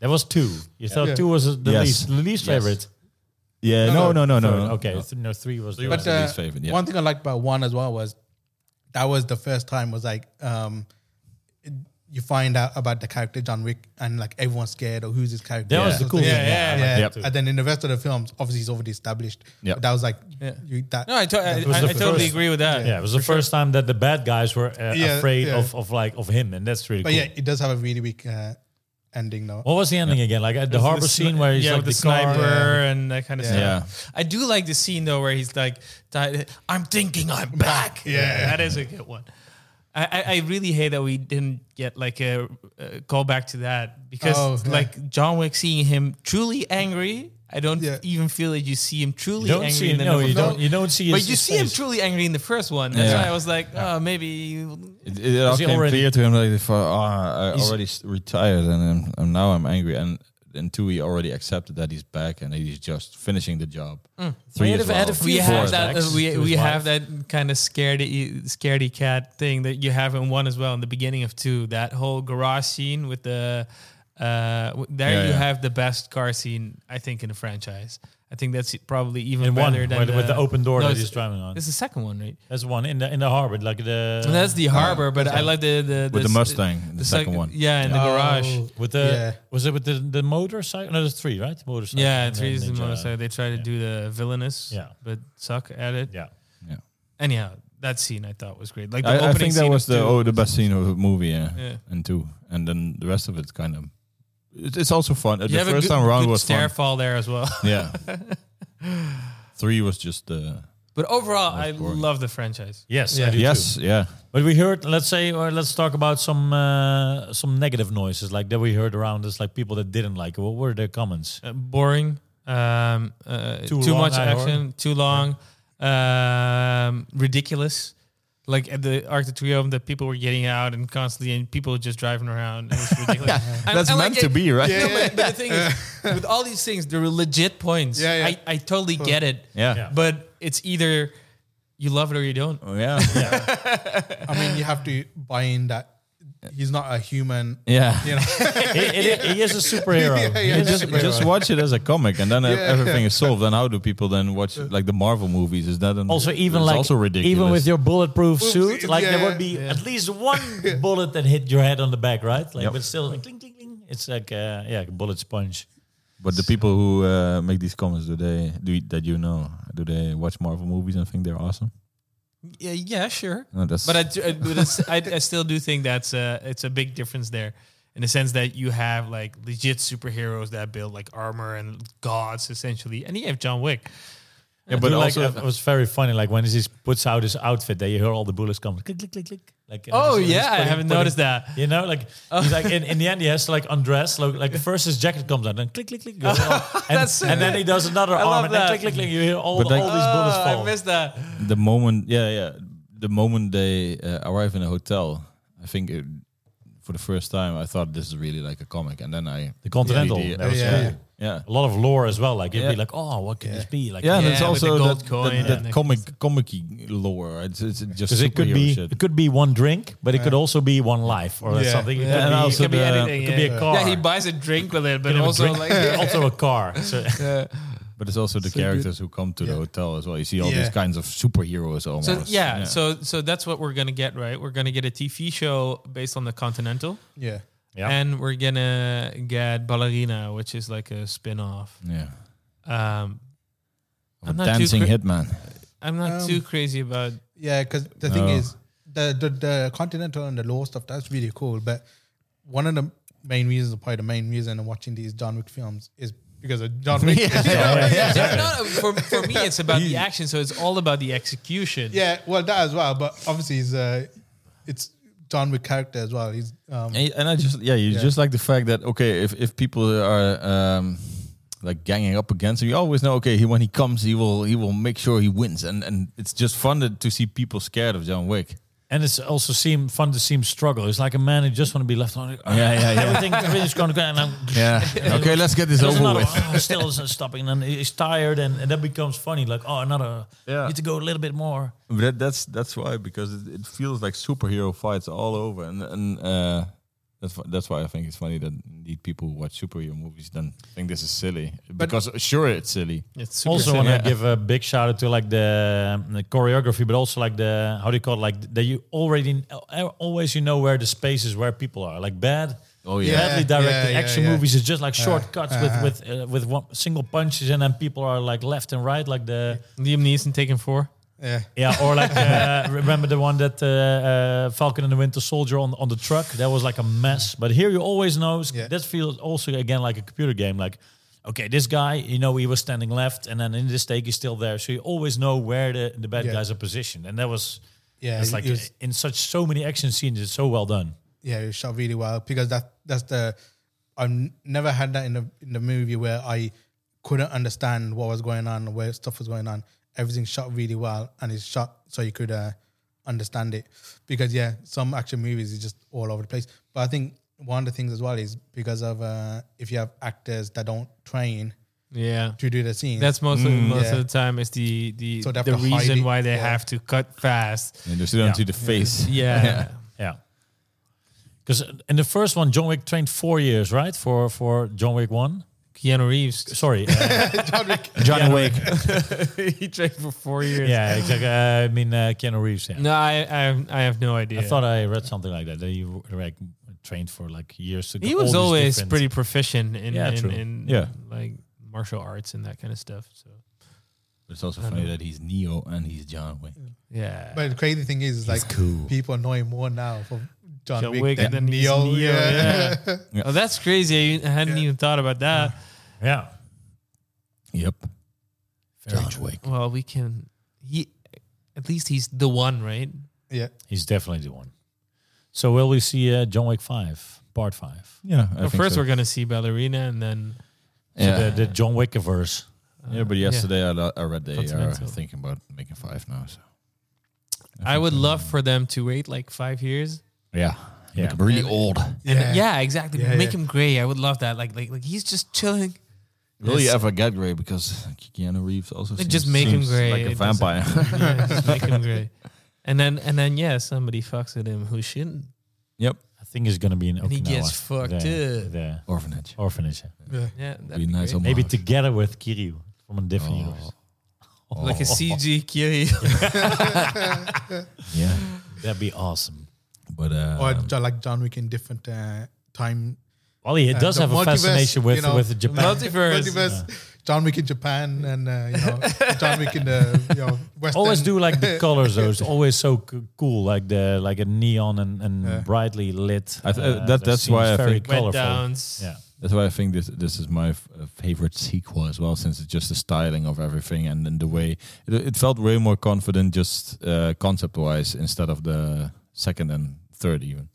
B: That was two. You thought
D: Yeah.
B: two was the
C: Yes.
B: least, the least
C: Yes.
B: favorite.
C: Yeah, no, no, no, no.
B: Third.
C: no.
B: Okay, th- no, three was. the
D: But
B: best.
C: the
D: uh,
C: least favorite, yeah.
D: one thing I liked about one as well was that was the first time was like um, it- you find out about the character John Wick and like everyone's scared or who's his character.
B: That was the cool
D: Yeah,
B: thing,
D: yeah,
B: yeah,
D: yeah.
B: I liked it too.
D: And then in the rest of the films, obviously he's already established.
C: Yeah.
D: But that was like
E: Yeah.
D: you, that.
E: No, I, to- I, I,
B: was the
E: I totally
B: first-
E: agree with that.
B: yeah, it was the first time that the bad guys were uh,
D: Yeah,
B: afraid
D: yeah.
B: of, of like of him, and that's really
D: but
B: cool.
D: yeah, it does have a really weak uh, ending though.
B: What was the ending again? Like at the harbor
E: the sni-
B: scene where he's
E: yeah,
B: like
E: with the,
B: the, car-
E: sniper and that kind of
C: Yeah.
E: stuff. I do like the scene though where he's like, "Ti- "I'm thinking I'm back."
D: Yeah.
E: that is a good one. I, I, I really hate that we didn't get like a, a callback to that because
D: Oh, yeah.
E: like John Wick seeing him truly angry, I don't
D: Yeah.
E: even feel that you see him truly
B: You don't
E: angry.
B: see
E: in
B: him.
E: the
B: No,
E: number-
B: you don't. You don't see.
E: but
B: his-
E: you
B: his
E: see him
B: face.
E: truly angry in the first one. That's
C: Yeah.
E: why I was like, oh, maybe. you-
C: It, it all
B: he
C: came
B: already-
C: clear to him like, for, oh, I
B: He's-
C: already s- retired and I'm, I'm now I'm angry and. And two, he already accepted that he's back and he's just finishing the job. Three
B: We Mm. had
C: as
B: a- had a
C: well.
B: few
E: we have that
B: flashbacks
E: uh, we,
B: to his
E: we
B: wife.
E: have that kind of scaredy scaredy cat thing that you have in one as well in the beginning of two that whole garage scene with the uh w- there
C: Yeah,
E: you
C: yeah.
E: have the best car scene i think in the franchise i think that's probably even
B: in one
E: better than
B: with the, with the open door
E: No,
B: that
E: it's-
B: he's driving on.
E: it's the second one right
B: That's one in the in the harbor, like the
E: And that's the harbor but i like the the,
C: With the
E: s-
C: Mustang, the
E: sec-
C: second one.
E: yeah in the garage
D: Oh,
B: with the
D: Yeah.
B: was it with the the motorcycle? No, there's three, right? Motorcycle.
E: yeah
B: and
E: three is the
B: ninja.
E: motorcycle they try to do the villainous
B: Yeah.
E: but suck at it
B: Yeah,
E: anyhow that scene i thought was great like the
C: I, I
E: opening
C: think that
E: scene of
C: was the
E: two.
C: oh the best scene of the movie, yeah.
E: Yeah.
C: and two, and then the rest of it's kind of it's, it's also fun. Uh,
E: You
C: the
E: have a
C: first
E: good-
C: time around
E: good
C: was
E: stair
C: fun.
E: fall there as well.
C: Yeah, three was just uh, the
E: But overall, I
C: boring.
E: love the franchise.
B: yes, I
D: Yeah.
B: do
C: yes, yeah.
B: too. But we heard, let's say, or let's talk about some uh, some negative noises like that we heard around us, like people that didn't like it. What were their comments?
E: Uh, boring, um, uh, too,
B: Too long,
E: much
B: I heard.
E: action, too long, um, ridiculous. Like at the Arc de Triomphe, that people were getting out and constantly, and people just driving around. And it's ridiculous. And-
C: That's
E: and
C: meant to
E: like it-
C: be, right?
E: No, but, but the thing is, with all these things, they're legit points.
D: Yeah, yeah.
E: I, I totally get it.
C: Yeah.
B: Yeah.
E: But it's either You love it or you don't.
C: Oh, yeah. yeah.
D: I mean, you have to buy in that he's not a human.
C: yeah.
D: You know,
B: He, he- he is a superhero.
D: Yeah, yeah,
B: He is a
C: Just,
B: superhero.
C: just watch it as a comic, and then ev-
D: Yeah.
C: everything is solved. Then how do people then watch like the Marvel movies? Is that an,
B: also even
C: it's
B: like
C: also ridiculous?
B: even with your bulletproof suit, like
D: yeah,
B: there would be at least one bullet that hit your head on the back, right? Like, but still, like, cling, cling, cling. It's like uh, yeah, like a bullet sponge.
C: But the people who uh, make these comments, do they do you- that you know? Do they watch Marvel movies and think they're awesome?
E: Yeah, yeah, sure.
C: No, that's
E: But I, do- I, but it's- I, I still do think that's a, it's a big difference there in the sense that you have like legit superheroes that build like armor and gods essentially, and you have John Wick.
B: Yeah,
C: but
B: but like,
C: also-
B: it was very funny. Like when he puts out his outfit, that you hear all the bullets come, click, click, click, click. Like and
E: Oh
B: he's- he's
E: yeah, I
B: putting-
E: haven't
B: putting-
E: noticed that.
B: You know, like
E: Oh.
B: he's like in, in the end he has to like undress. Like, like first his jacket comes out, then click, click, click, goes off. and,
E: That's so
B: and then he does another
E: love
B: arm, and then
E: that.
B: click, click, click. You hear all,
C: But like-
B: all these bullets
E: Oh,
B: fall.
E: I missed that.
C: the moment. Yeah, yeah. The moment they uh, arrive in a hotel, I think it, for the first time I thought this is really like a comic, and then I
B: the Continental.
C: Yeah,
B: that was
D: yeah.
B: cool.
C: yeah.
B: a lot of lore as well. Like you'd
C: Yeah.
B: be like, oh, what could this be? Like,
C: Yeah, and
E: Yeah,
C: it's
E: with
C: also
E: the gold
C: that,
E: coin
C: that,
E: and
C: that
E: the-
C: comic comic lore. It's, it's just
B: Because it could
C: superhero
B: be
C: shit.
B: it could be one drink, but it could also be one life or
D: Yeah.
B: something. It
E: Yeah,
B: could
C: and
B: be,
C: also
B: it could be
C: the-
B: anything. It could be a car.
E: Yeah, he buys a drink with it, but
B: Could have a
E: also
B: drink.
E: like
B: also a car. So
C: But it's also the characters who come to the hotel as well. You see all
D: Yeah.
C: these kinds of superheroes almost.
E: So yeah, so so that's what we're gonna get, right? We're gonna get a TV show based on the Continental,
D: yeah.
B: Yeah.
E: and we're gonna get Ballerina, which is like a spin-off.
C: yeah.
E: Um, I'm not too
C: Dancing
E: cra-
C: hitman.
E: I'm not
D: Um,
E: too crazy about.
D: Yeah, because the thing
C: No.
D: is, the, the the continental and the law stuff that's really cool. But one of the main reasons, probably the main reason, I'm watching these John Wick films is because of John Wick.
E: Yeah, no, no, for, for me, it's about the action, so it's all about the execution.
D: yeah, well, that as well. But obviously, he's uh, it's John Wick character as well. He's um,
C: And and I just yeah, you
D: Yeah.
C: just like the fact that okay, if if people are um like ganging up against him, you always know okay, he when he comes, he will he will make sure he wins, and and it's just fun to, to see people scared of John Wick.
B: and it's also seem fun to see him struggle. It's like a man who just want to be left on. Yeah,
C: yeah, yeah.
B: Everything everything's going to go, and I'm
C: Yeah. okay, let's get this
B: there's
C: over
B: another.
C: with.
B: Oh, still isn't stopping, and he's tired, and, and that becomes funny. Like, oh, another.
C: Yeah.
B: Yeah. Need to go a little bit more.
C: But that, that's that's why because it, it feels like superhero fights all over, and and uh, that's wh- that's why I think it's funny that indeed people who watch superhero movies then think this is silly because sure it's silly.
E: It's super
B: also want
E: silly.
B: to
C: Yeah.
B: give a big shout out to like the, um, the choreography but also like the how do you call it like that you already al- always you know where the space is where people are like bad
C: Oh, yeah. Uh,
B: badly directed
D: Yeah, yeah,
B: action
D: yeah.
B: movies is just like shortcuts with with uh, with one single punches and then people are like left and right like the
E: Liam Neeson taken four.
D: yeah.
B: yeah or like uh, remember the one that uh, uh, Falcon and the Winter Soldier on on the truck that was like a mess but here you always know
D: Yeah.
B: that feels also again like a computer game like okay this guy you know he was standing left and then in this take he's still there so you always know where the, the bad
D: Yeah.
B: guys are positioned and that was
D: Yeah,
B: it's
D: it-
B: like
D: it was-
B: in such so many action scenes it's so well done
D: yeah, it was shot really well because that that's the I've n- never had that in the in the movie where I couldn't understand what was going on, where stuff was going on. Everything's shot really well, and it's shot so you could uh, understand it. Because yeah, some action movies is just all over the place. But I think one of the things as well is because of uh, if you have actors that don't train
E: Yeah.
D: to do the scene,
E: That's most of, most
D: yeah.
E: of the time is the the,
D: So they have
E: the
D: to hide
E: reason
D: it,
E: why they
D: yeah.
E: have to cut fast.
C: And they sit onto the face.
E: Yeah.
B: yeah because in the first one John Wick trained four years right for for John Wick one
E: Keanu Reeves.
B: sorry uh,
C: John Wick.
E: he trained for four years.
B: yeah exactly uh, I mean uh, Keanu Reeves yeah.
E: No, I I, I have no idea.
B: I thought I read something like that. That you were, like trained for like years to go.
E: he
B: all
E: was
B: these
E: always
B: different-
E: pretty proficient in
B: Yeah,
E: in,
B: true.
E: in
C: Yeah.
E: like martial arts and that kind of stuff. So
C: It's also funny that he's Neo and he's John Wick.
E: yeah.
D: But the crazy thing is, is like
A: cool.
D: people know him more now for John,
E: John
D: Wick,
E: Wick
D: than
E: and then he's
D: Neo.
E: Neo,
D: yeah.
E: yeah. Oh, that's crazy. I hadn't even thought about that.
B: Yeah.
C: Yep.
A: John Wick.
E: Well, we can. He, at least he's the one, right?
D: yeah.
B: He's definitely the one. So will we see uh, John Wick Five Part Five?
C: Yeah. I
E: Well,
C: think
E: first,
C: so.
E: we're gonna see ballerina, and then
C: yeah.
B: The, the John Wick verse.
C: yeah, but yesterday I, lo- I read they are
E: Continental.
C: thinking about making five now. So
E: I, would love for them to wait like five years.
C: yeah,
B: Yeah.
C: Make him really old.
E: Yeah, exactly.
D: Yeah,
E: Make
D: yeah.
E: him gray. I would love that. Like, like, like he's just chilling.
C: Will he
E: Yes.
C: ever get gray? Because Keanu Reeves also
E: They
C: seems,
E: just make him
C: seems
E: gray.
C: like a
E: It doesn't-
C: vampire.
E: yeah, just make him gray. And then and then yeah, somebody fucks with him who shouldn't.
C: yep,
B: I think it's gonna be in Okinawa.
E: And he gets fucked
B: the,
E: up.
B: The
C: orphanage.
B: orphanage. yeah.
E: Yeah, that'd
C: Be nice
E: great.
C: homage.
B: Maybe together with Kiryu from a different
C: Oh.
B: universe.
E: like a CG Kiri.
C: Yeah,
B: That'd be awesome.
C: but uh,
D: or ju- like John Wick in different uh, time.
B: Well, he
D: uh,
B: does
D: the
B: have a
D: multiverse,
B: fascination with
D: you know,
B: with Japan.
E: Multiverse.
D: multiverse, John Wick in Japan and uh, you know John Wick in the you know Western.
B: Always do like the colors though. It's always so c- cool, like the like a neon and, and
D: Yeah.
B: brightly lit.
C: I th-
B: uh,
C: that- that's why
B: scenes,
C: I
B: very
C: think-
B: colorful.
E: Went downs.
B: Yeah,
C: that's why I think this this is my f- uh, favorite sequel as well, since it's just the styling of everything and then the way it, it felt way more confident, just uh, concept wise, instead of the second and third even.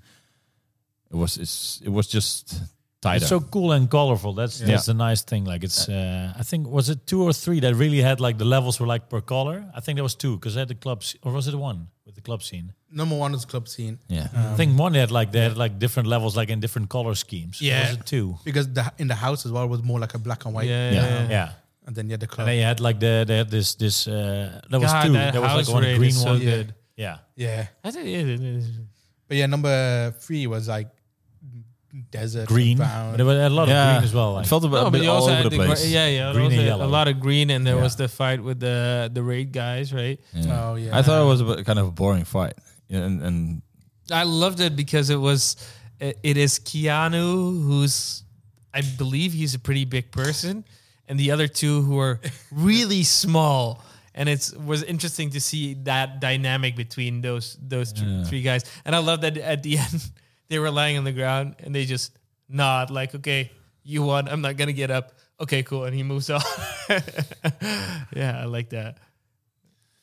C: It was it's it was just tighter.
B: it's so cool and colorful. That's
D: Yeah.
B: that's a nice thing. Like it's, uh, I think was it two or three that really had like the levels were like per color. I think there was two because they had the club sc- or was it one with the club scene?
D: Number one is club scene Um,
C: yeah.
B: I think one had like they had like different levels, like in different color schemes. Or
E: Yeah.
B: was it two?
D: because the in the house as well was more like a black and
E: Yeah,
D: white.
E: yeah,
B: Yeah, yeah.
D: And then yeah, the club.
B: And they had like the they had this this uh, there was
E: God,
B: two.
E: that
B: There was
E: house
B: like one
E: raid
B: green
E: is so
B: one.
E: good.
B: Yeah,
D: yeah,
E: I think it is.
D: but yeah, number three was like desert
B: green. But
D: brown.
B: there was a lot
C: yeah.
B: of green as well. Like.
C: it felt a, bit- a
E: No, but
C: bit
E: you
C: all
E: also
C: over
E: had
C: the
E: the gr-
C: place.
E: yeah, yeah,
B: Green and
E: also a
B: yellow.
E: lot of green, and there
B: Yeah.
E: was the fight with the the raid guys, right?
C: Yeah.
D: Oh yeah,
C: I thought it was a bit- kind of a boring fight, Yeah, and and
E: I loved it because it was it it is Keanu who's I believe he's a pretty big person and the other two who are really small and it's was interesting to see that dynamic between those those thr- three guys and I love that at the end they were lying on the ground and they just nod like okay you won I'm not gonna get up okay cool and he moves on yeah I like that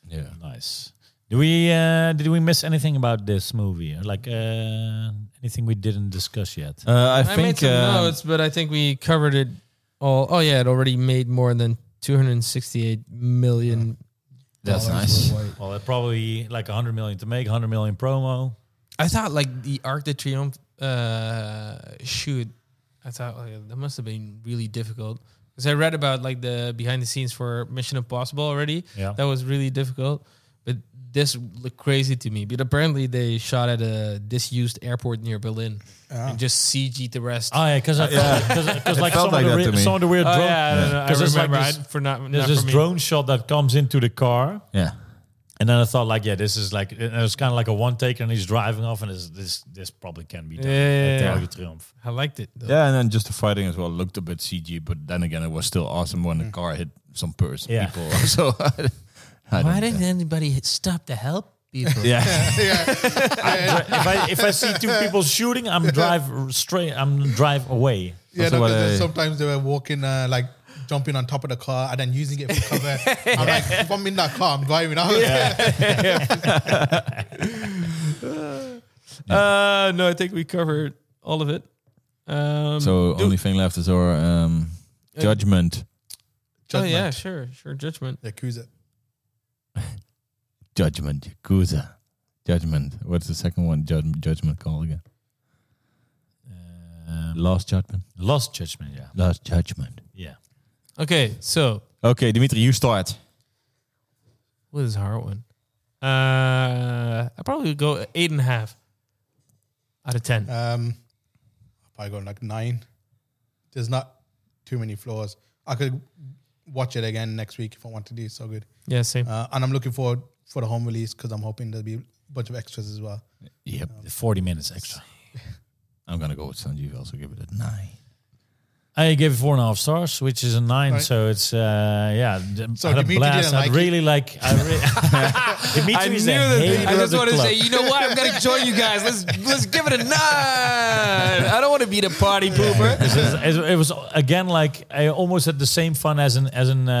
C: yeah.
B: Nice. Do we uh, did we miss anything about this movie? Like uh, anything we didn't discuss yet?
C: Uh, I,
E: I made
C: think
E: some
C: uh,
B: um,
E: notes, but I think we covered it all. Oh yeah, it already made more than 268 million.
C: that's nice.
B: Well, it probably like 100 million to make, 100 million promo.
E: I thought like the Arc de Triomphe uh, shoot. I thought like, that must have been really difficult because I read about like the behind the scenes for Mission Impossible already.
B: Yeah.
E: that was really difficult. But this looked crazy to me. But apparently they shot at a disused airport near Berlin and just CG'd the rest.
B: Oh yeah, because because like,
C: felt
B: some,
C: like
B: of
C: that
B: the
C: to
B: re-
C: me.
B: some of the weird
E: Oh,
B: drone.
E: yeah, no, no, I
B: 'Cause it's like
E: remember. I,
B: this-
E: for not,
B: There's
E: not
B: this
E: for me.
B: drone shot that comes into the car,
C: Yeah,
B: and then I thought like, yeah, this is like it was kind of like a one take, and he's driving off, and this this this probably can be done.
E: Yeah.
B: Like, Arc de Triomphe.
E: I liked it. Though.
C: yeah, and then just the fighting as well looked a bit CG, but then again, it was still awesome when the car hit some person
B: Yeah.
C: people. So I, don't- I
E: Why
C: don't-
E: didn't anybody stop to help people?
C: yeah,
B: if I if I see two people shooting, I'm drive r- straight. I'm drive away.
D: yeah,
C: also
D: no,
C: what
D: 'cause then
C: I-
D: sometimes they were walking uh, like. Jumping on top of the car and then using it for cover. I'm like, if I'm in that car, I'm driving. I was
E: Uh, no, I think we covered all of it. Um,
C: So
E: do-
C: only thing left is our um, judgment.
E: oh yeah,
D: judgment.
E: sure, sure, judgment.
D: Yakuza.
C: Judgment, Yakuza. Judgment. What's the second one? Judgment, judgment called again?
B: Um,
C: Last judgment.
B: lost judgment. Yeah,
C: Last judgment.
B: yeah.
E: Okay, so
C: Okay, Dimitri, you start.
E: what is a hard one? Uh, I probably would go eight and a half out of ten.
D: Um, probably going like nine. There's not too many flaws. I could watch it again next week if I want to do so good.
E: yeah, same.
D: Uh, and I'm looking forward for the home release because I'm hoping there'll be a bunch of extras as well.
C: Yep.
B: Forty minutes extra.
C: I'm gonna go with Sanjeev. Also give it a nine.
B: I gave it four and a half stars, which is a nine.
D: Right.
B: So it's uh, yeah, d-
D: So
B: had a
D: Dimitri
B: blast.
D: didn't
B: I
D: like
B: really like. I re- Dimitri is a hater
E: I
B: of
E: just
B: the
E: want to
B: club.
E: say, you know what? I'm gonna join you guys. Let's let's give it a nine. I don't want to be the party pooper.
B: This is- it it was again like I almost had the same fun as an as an uh,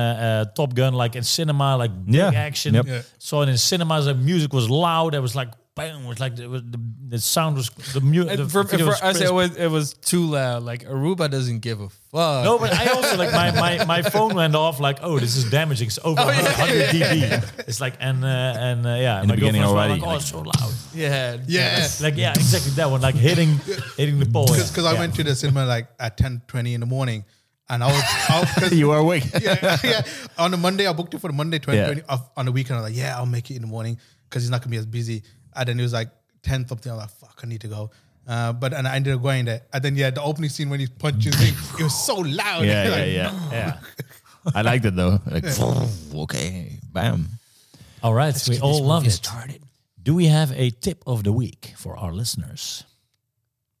B: uh, Top Gun, like in cinema, like big
C: Yeah.
B: action.
C: Yep.
D: Yeah.
B: So in cinemas, the music was loud. It was like bang. It was like the, the, the sound was the music.
E: And
B: The
E: For,
B: video
E: for
B: was
E: us,
B: crisp.
E: it was it was too loud. Like Aruba doesn't give a fuck.
B: No, but I also like my, my, my phone went off like oh this is damaging it's
D: Oh,
B: over 100 dB it's like and uh, and uh, yeah in
C: the beginning already,
B: like, oh
C: like-
B: it's so loud
E: Yeah.
D: Yeah.
B: like yeah exactly that one like hitting hitting the pole
D: Because I
B: Yeah.
D: went to the cinema like at ten twenty in the morning And I was, I was
C: you are awake.
D: yeah, yeah. On a Monday, I booked it for the Monday 2020.
C: Yeah.
D: Of- On the weekend, I was like, yeah, I'll make it in the morning because he's not gonna be as busy. And then it was like 10 something. I was like, fuck, I need to go. Uh, but and I ended up going there. And then yeah, the opening scene when he's punching thing, it was so loud.
C: Yeah,
D: Like,
C: yeah, yeah.
B: Yeah.
C: I liked it though. Like,
A: okay, bam.
B: All right, we all love it.
A: started.
B: Do we have a tip of the week for our listeners?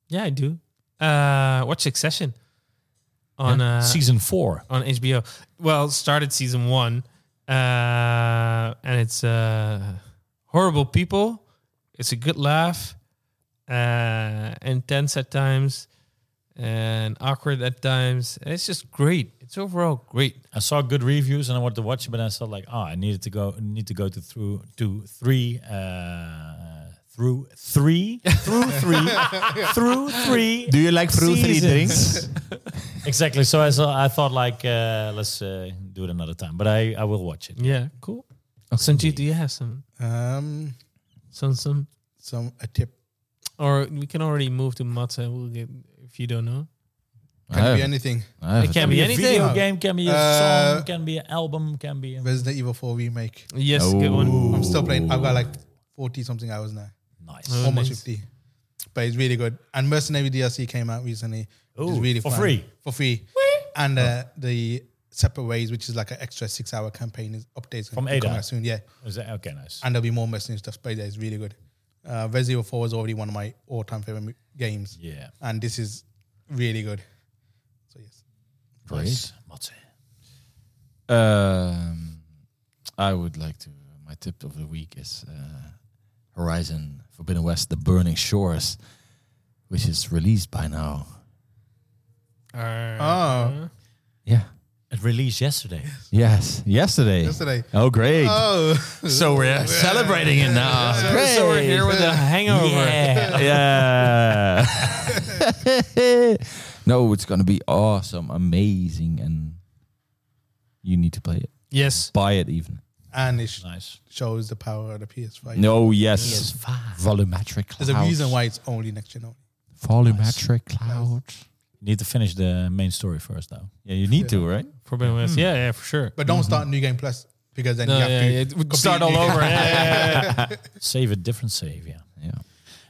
E: Yeah, I do. Uh, watch Succession on uh,
B: Season four.
E: on HBO. Well, started season one, uh, and it's uh, horrible people. It's a good laugh, uh, intense at times, and awkward at times. It's just great. It's overall great.
B: I saw good reviews and I wanted to watch it, but I saw like, oh, I needed to go, need to go to through to three, uh, through three, through three, through three.
C: do you like fruit three
B: Seasons.
C: drinks?
B: Exactly. So I saw, I thought like, uh, let's uh, do it another time, but I, I will watch it.
E: Yeah, cool. Sanjeev, do you have some
D: Um,
E: some some?
D: some a tip.
E: Or we can already move to Matze. We'll get if you don't know.
D: Can it
C: have-
D: be anything.
C: I have
E: It
C: a
E: can be
B: a
E: anything.
B: video game, can be a
D: Uh,
B: song, can be an album, can be. A,
D: Resident Evil 4 remake.
E: Yes, good one.
D: I'm still playing. I've got like 40 something hours now,
B: nice.
E: Oh,
D: almost
E: nice.
D: 50. But it's really good. And Mercenary DLC came out recently. which
B: Ooh,
D: is really
B: for
D: fun.
B: free? Oh.
D: For free. And uh, the Separate Ways, which is like an extra six hour campaign, is updates
B: From
D: gonna be coming
B: Ada.
D: out soon. Yeah.
B: Is that- okay, nice.
D: And there'll be more mercenary stuff. But yeah, it's really good. Uh, Resident Evil 4 is already one of my all time favorite mo- games.
B: Yeah.
D: And this is really good. So, yes.
B: Nice. Matze.
C: Um, I would like to. My tip of the week is uh, Horizon Forbidden West: The Burning Shores, which is released by now.
E: Uh,
D: Oh.
C: Yeah.
B: It released yesterday.
C: Yes. Yesterday.
D: Yesterday.
C: Oh, great.
D: Oh.
C: So we're celebrating it now. Great.
E: So we're here with a hangover.
B: Yeah.
C: Yeah. no, it's gonna be awesome, amazing, and you need to play it.
E: Yes.
C: Buy it even.
D: and it sh-
B: nice.
D: shows the power of the PS5.
C: No, yes. Volumetric cloud.
D: There's a reason why it's only next gen only.
C: Volumetric cloud.
B: Need to finish the main story first, though.
C: Yeah, you need to, right?
E: Forbidden West. Yeah, yeah, for sure.
D: But don't start New Game Plus because then
E: Mm-hmm. No,
D: you have
E: yeah,
D: to
E: yeah, it would
D: completely-
E: start all over. Yeah, yeah, yeah.
B: Save a different save, yeah.
C: Yeah.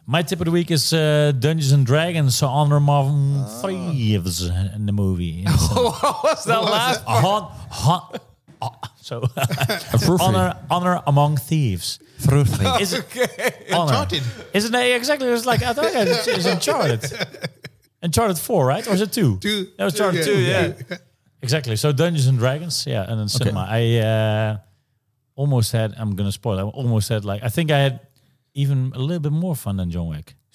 B: My tip of the week is uh, Dungeons and Dragons: so Honor Among Thieves in the movie. It's, uh,
E: what was that last?
B: hon, hon, oh, so honor, honor among thieves. Is it honor?
D: Uncharted.
B: Isn't it exactly? It's like I thought it's, it's Uncharted. Uncharted four, right? Or is it two?
D: Two.
B: That was Uncharted
D: Yeah.
B: two. Yeah. exactly. So Dungeons and Dragons, yeah, and then cinema. I uh, almost had. I'm gonna spoil. I almost had like I think I had even a little bit more fun than John Wick.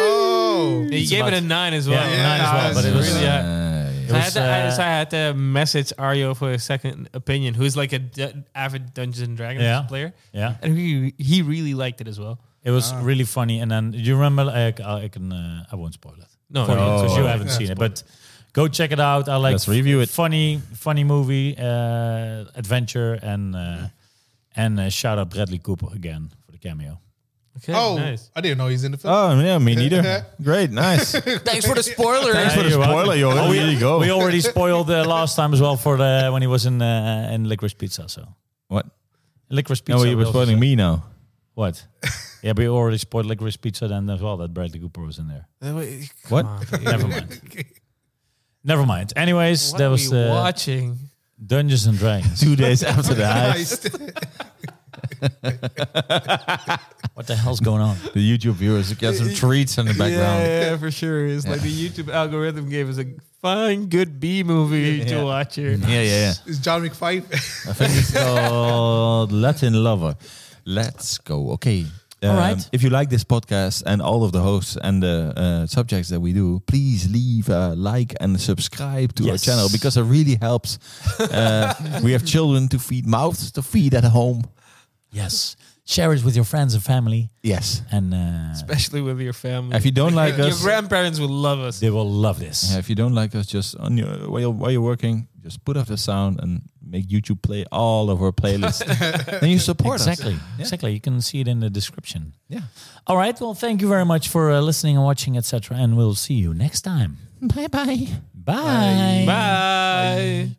D: Oh,
E: You gave it a nine as well.
B: Yeah, nine as well, but it was-
E: really, yeah.
C: Uh,
E: I
B: was,
E: had, to, I,
B: uh,
E: so I had to message Ario for a second opinion, who's like a d- avid Dungeons and Dragons
B: Yeah.
E: player,
B: Yeah.
E: and he he really liked it as well.
B: It was really funny, and then you remember? Like, I I can, uh, I won't spoil it.
C: Oh,
E: No,
B: for
E: no,
B: you, because
E: no.
B: you haven't seen it. But go check it out. I like
C: Let's review it.
B: Funny, funny movie, uh, adventure, and uh, and uh, shout out Bradley Cooper again for the cameo.
E: Okay,
D: oh,
E: nice.
D: I didn't know he's in the film.
C: oh, yeah, me neither. Great, nice.
E: Thanks for the spoiler.
C: Thanks for the
B: you're
C: spoiler, yo. There you go.
B: We already spoiled uh, last time as well for the when he was in uh, in Licorice Pizza. So
C: What?
B: Licorice Pizza.
C: No, you
B: we
C: were
B: also
C: spoiling
B: said-
C: me now.
B: What? yeah, we already spoiled Licorice Pizza then as well. That Bradley Cooper was in there.
E: Oh,
C: What?
B: Never mind. Never mind. Anyways,
E: What
B: that
E: are
B: was
E: we
B: uh,
E: watching?
B: Dungeons and Dragons.
C: Two days after that,
B: what the hell's going on?
C: the YouTube viewers get some treats in the background.
E: Yeah, yeah, for sure. It's like the YouTube algorithm gave us a fine, good B movie to watch here.
C: Yeah, yeah, yeah.
D: It's John Wick 5.
C: I think it's called Latin Lover. Let's go. Okay. Um,
B: right.
C: If you like this podcast and all of the hosts and the uh, subjects that we do, please leave a like and subscribe to
B: Yes.
C: our channel because it really helps. Uh, we have children to feed, mouths to feed at home.
B: Yes. Share it with your friends and family,
C: Yes.
B: and uh,
E: Especially with your family.
C: If you don't like
E: your
C: us,
E: grandparents will love us.
B: they will love this.
C: Yeah, if you don't like us, just on your while you're, while you're working, just put off the sound and make YouTube play all of our playlists. then you support us.
B: Exactly. Exactly. You can see it in the description.
C: Yeah.
B: All right. Well, thank you very much for uh, listening and watching, etc. And we'll see you next time.
C: Bye bye.
B: Bye.
E: Bye.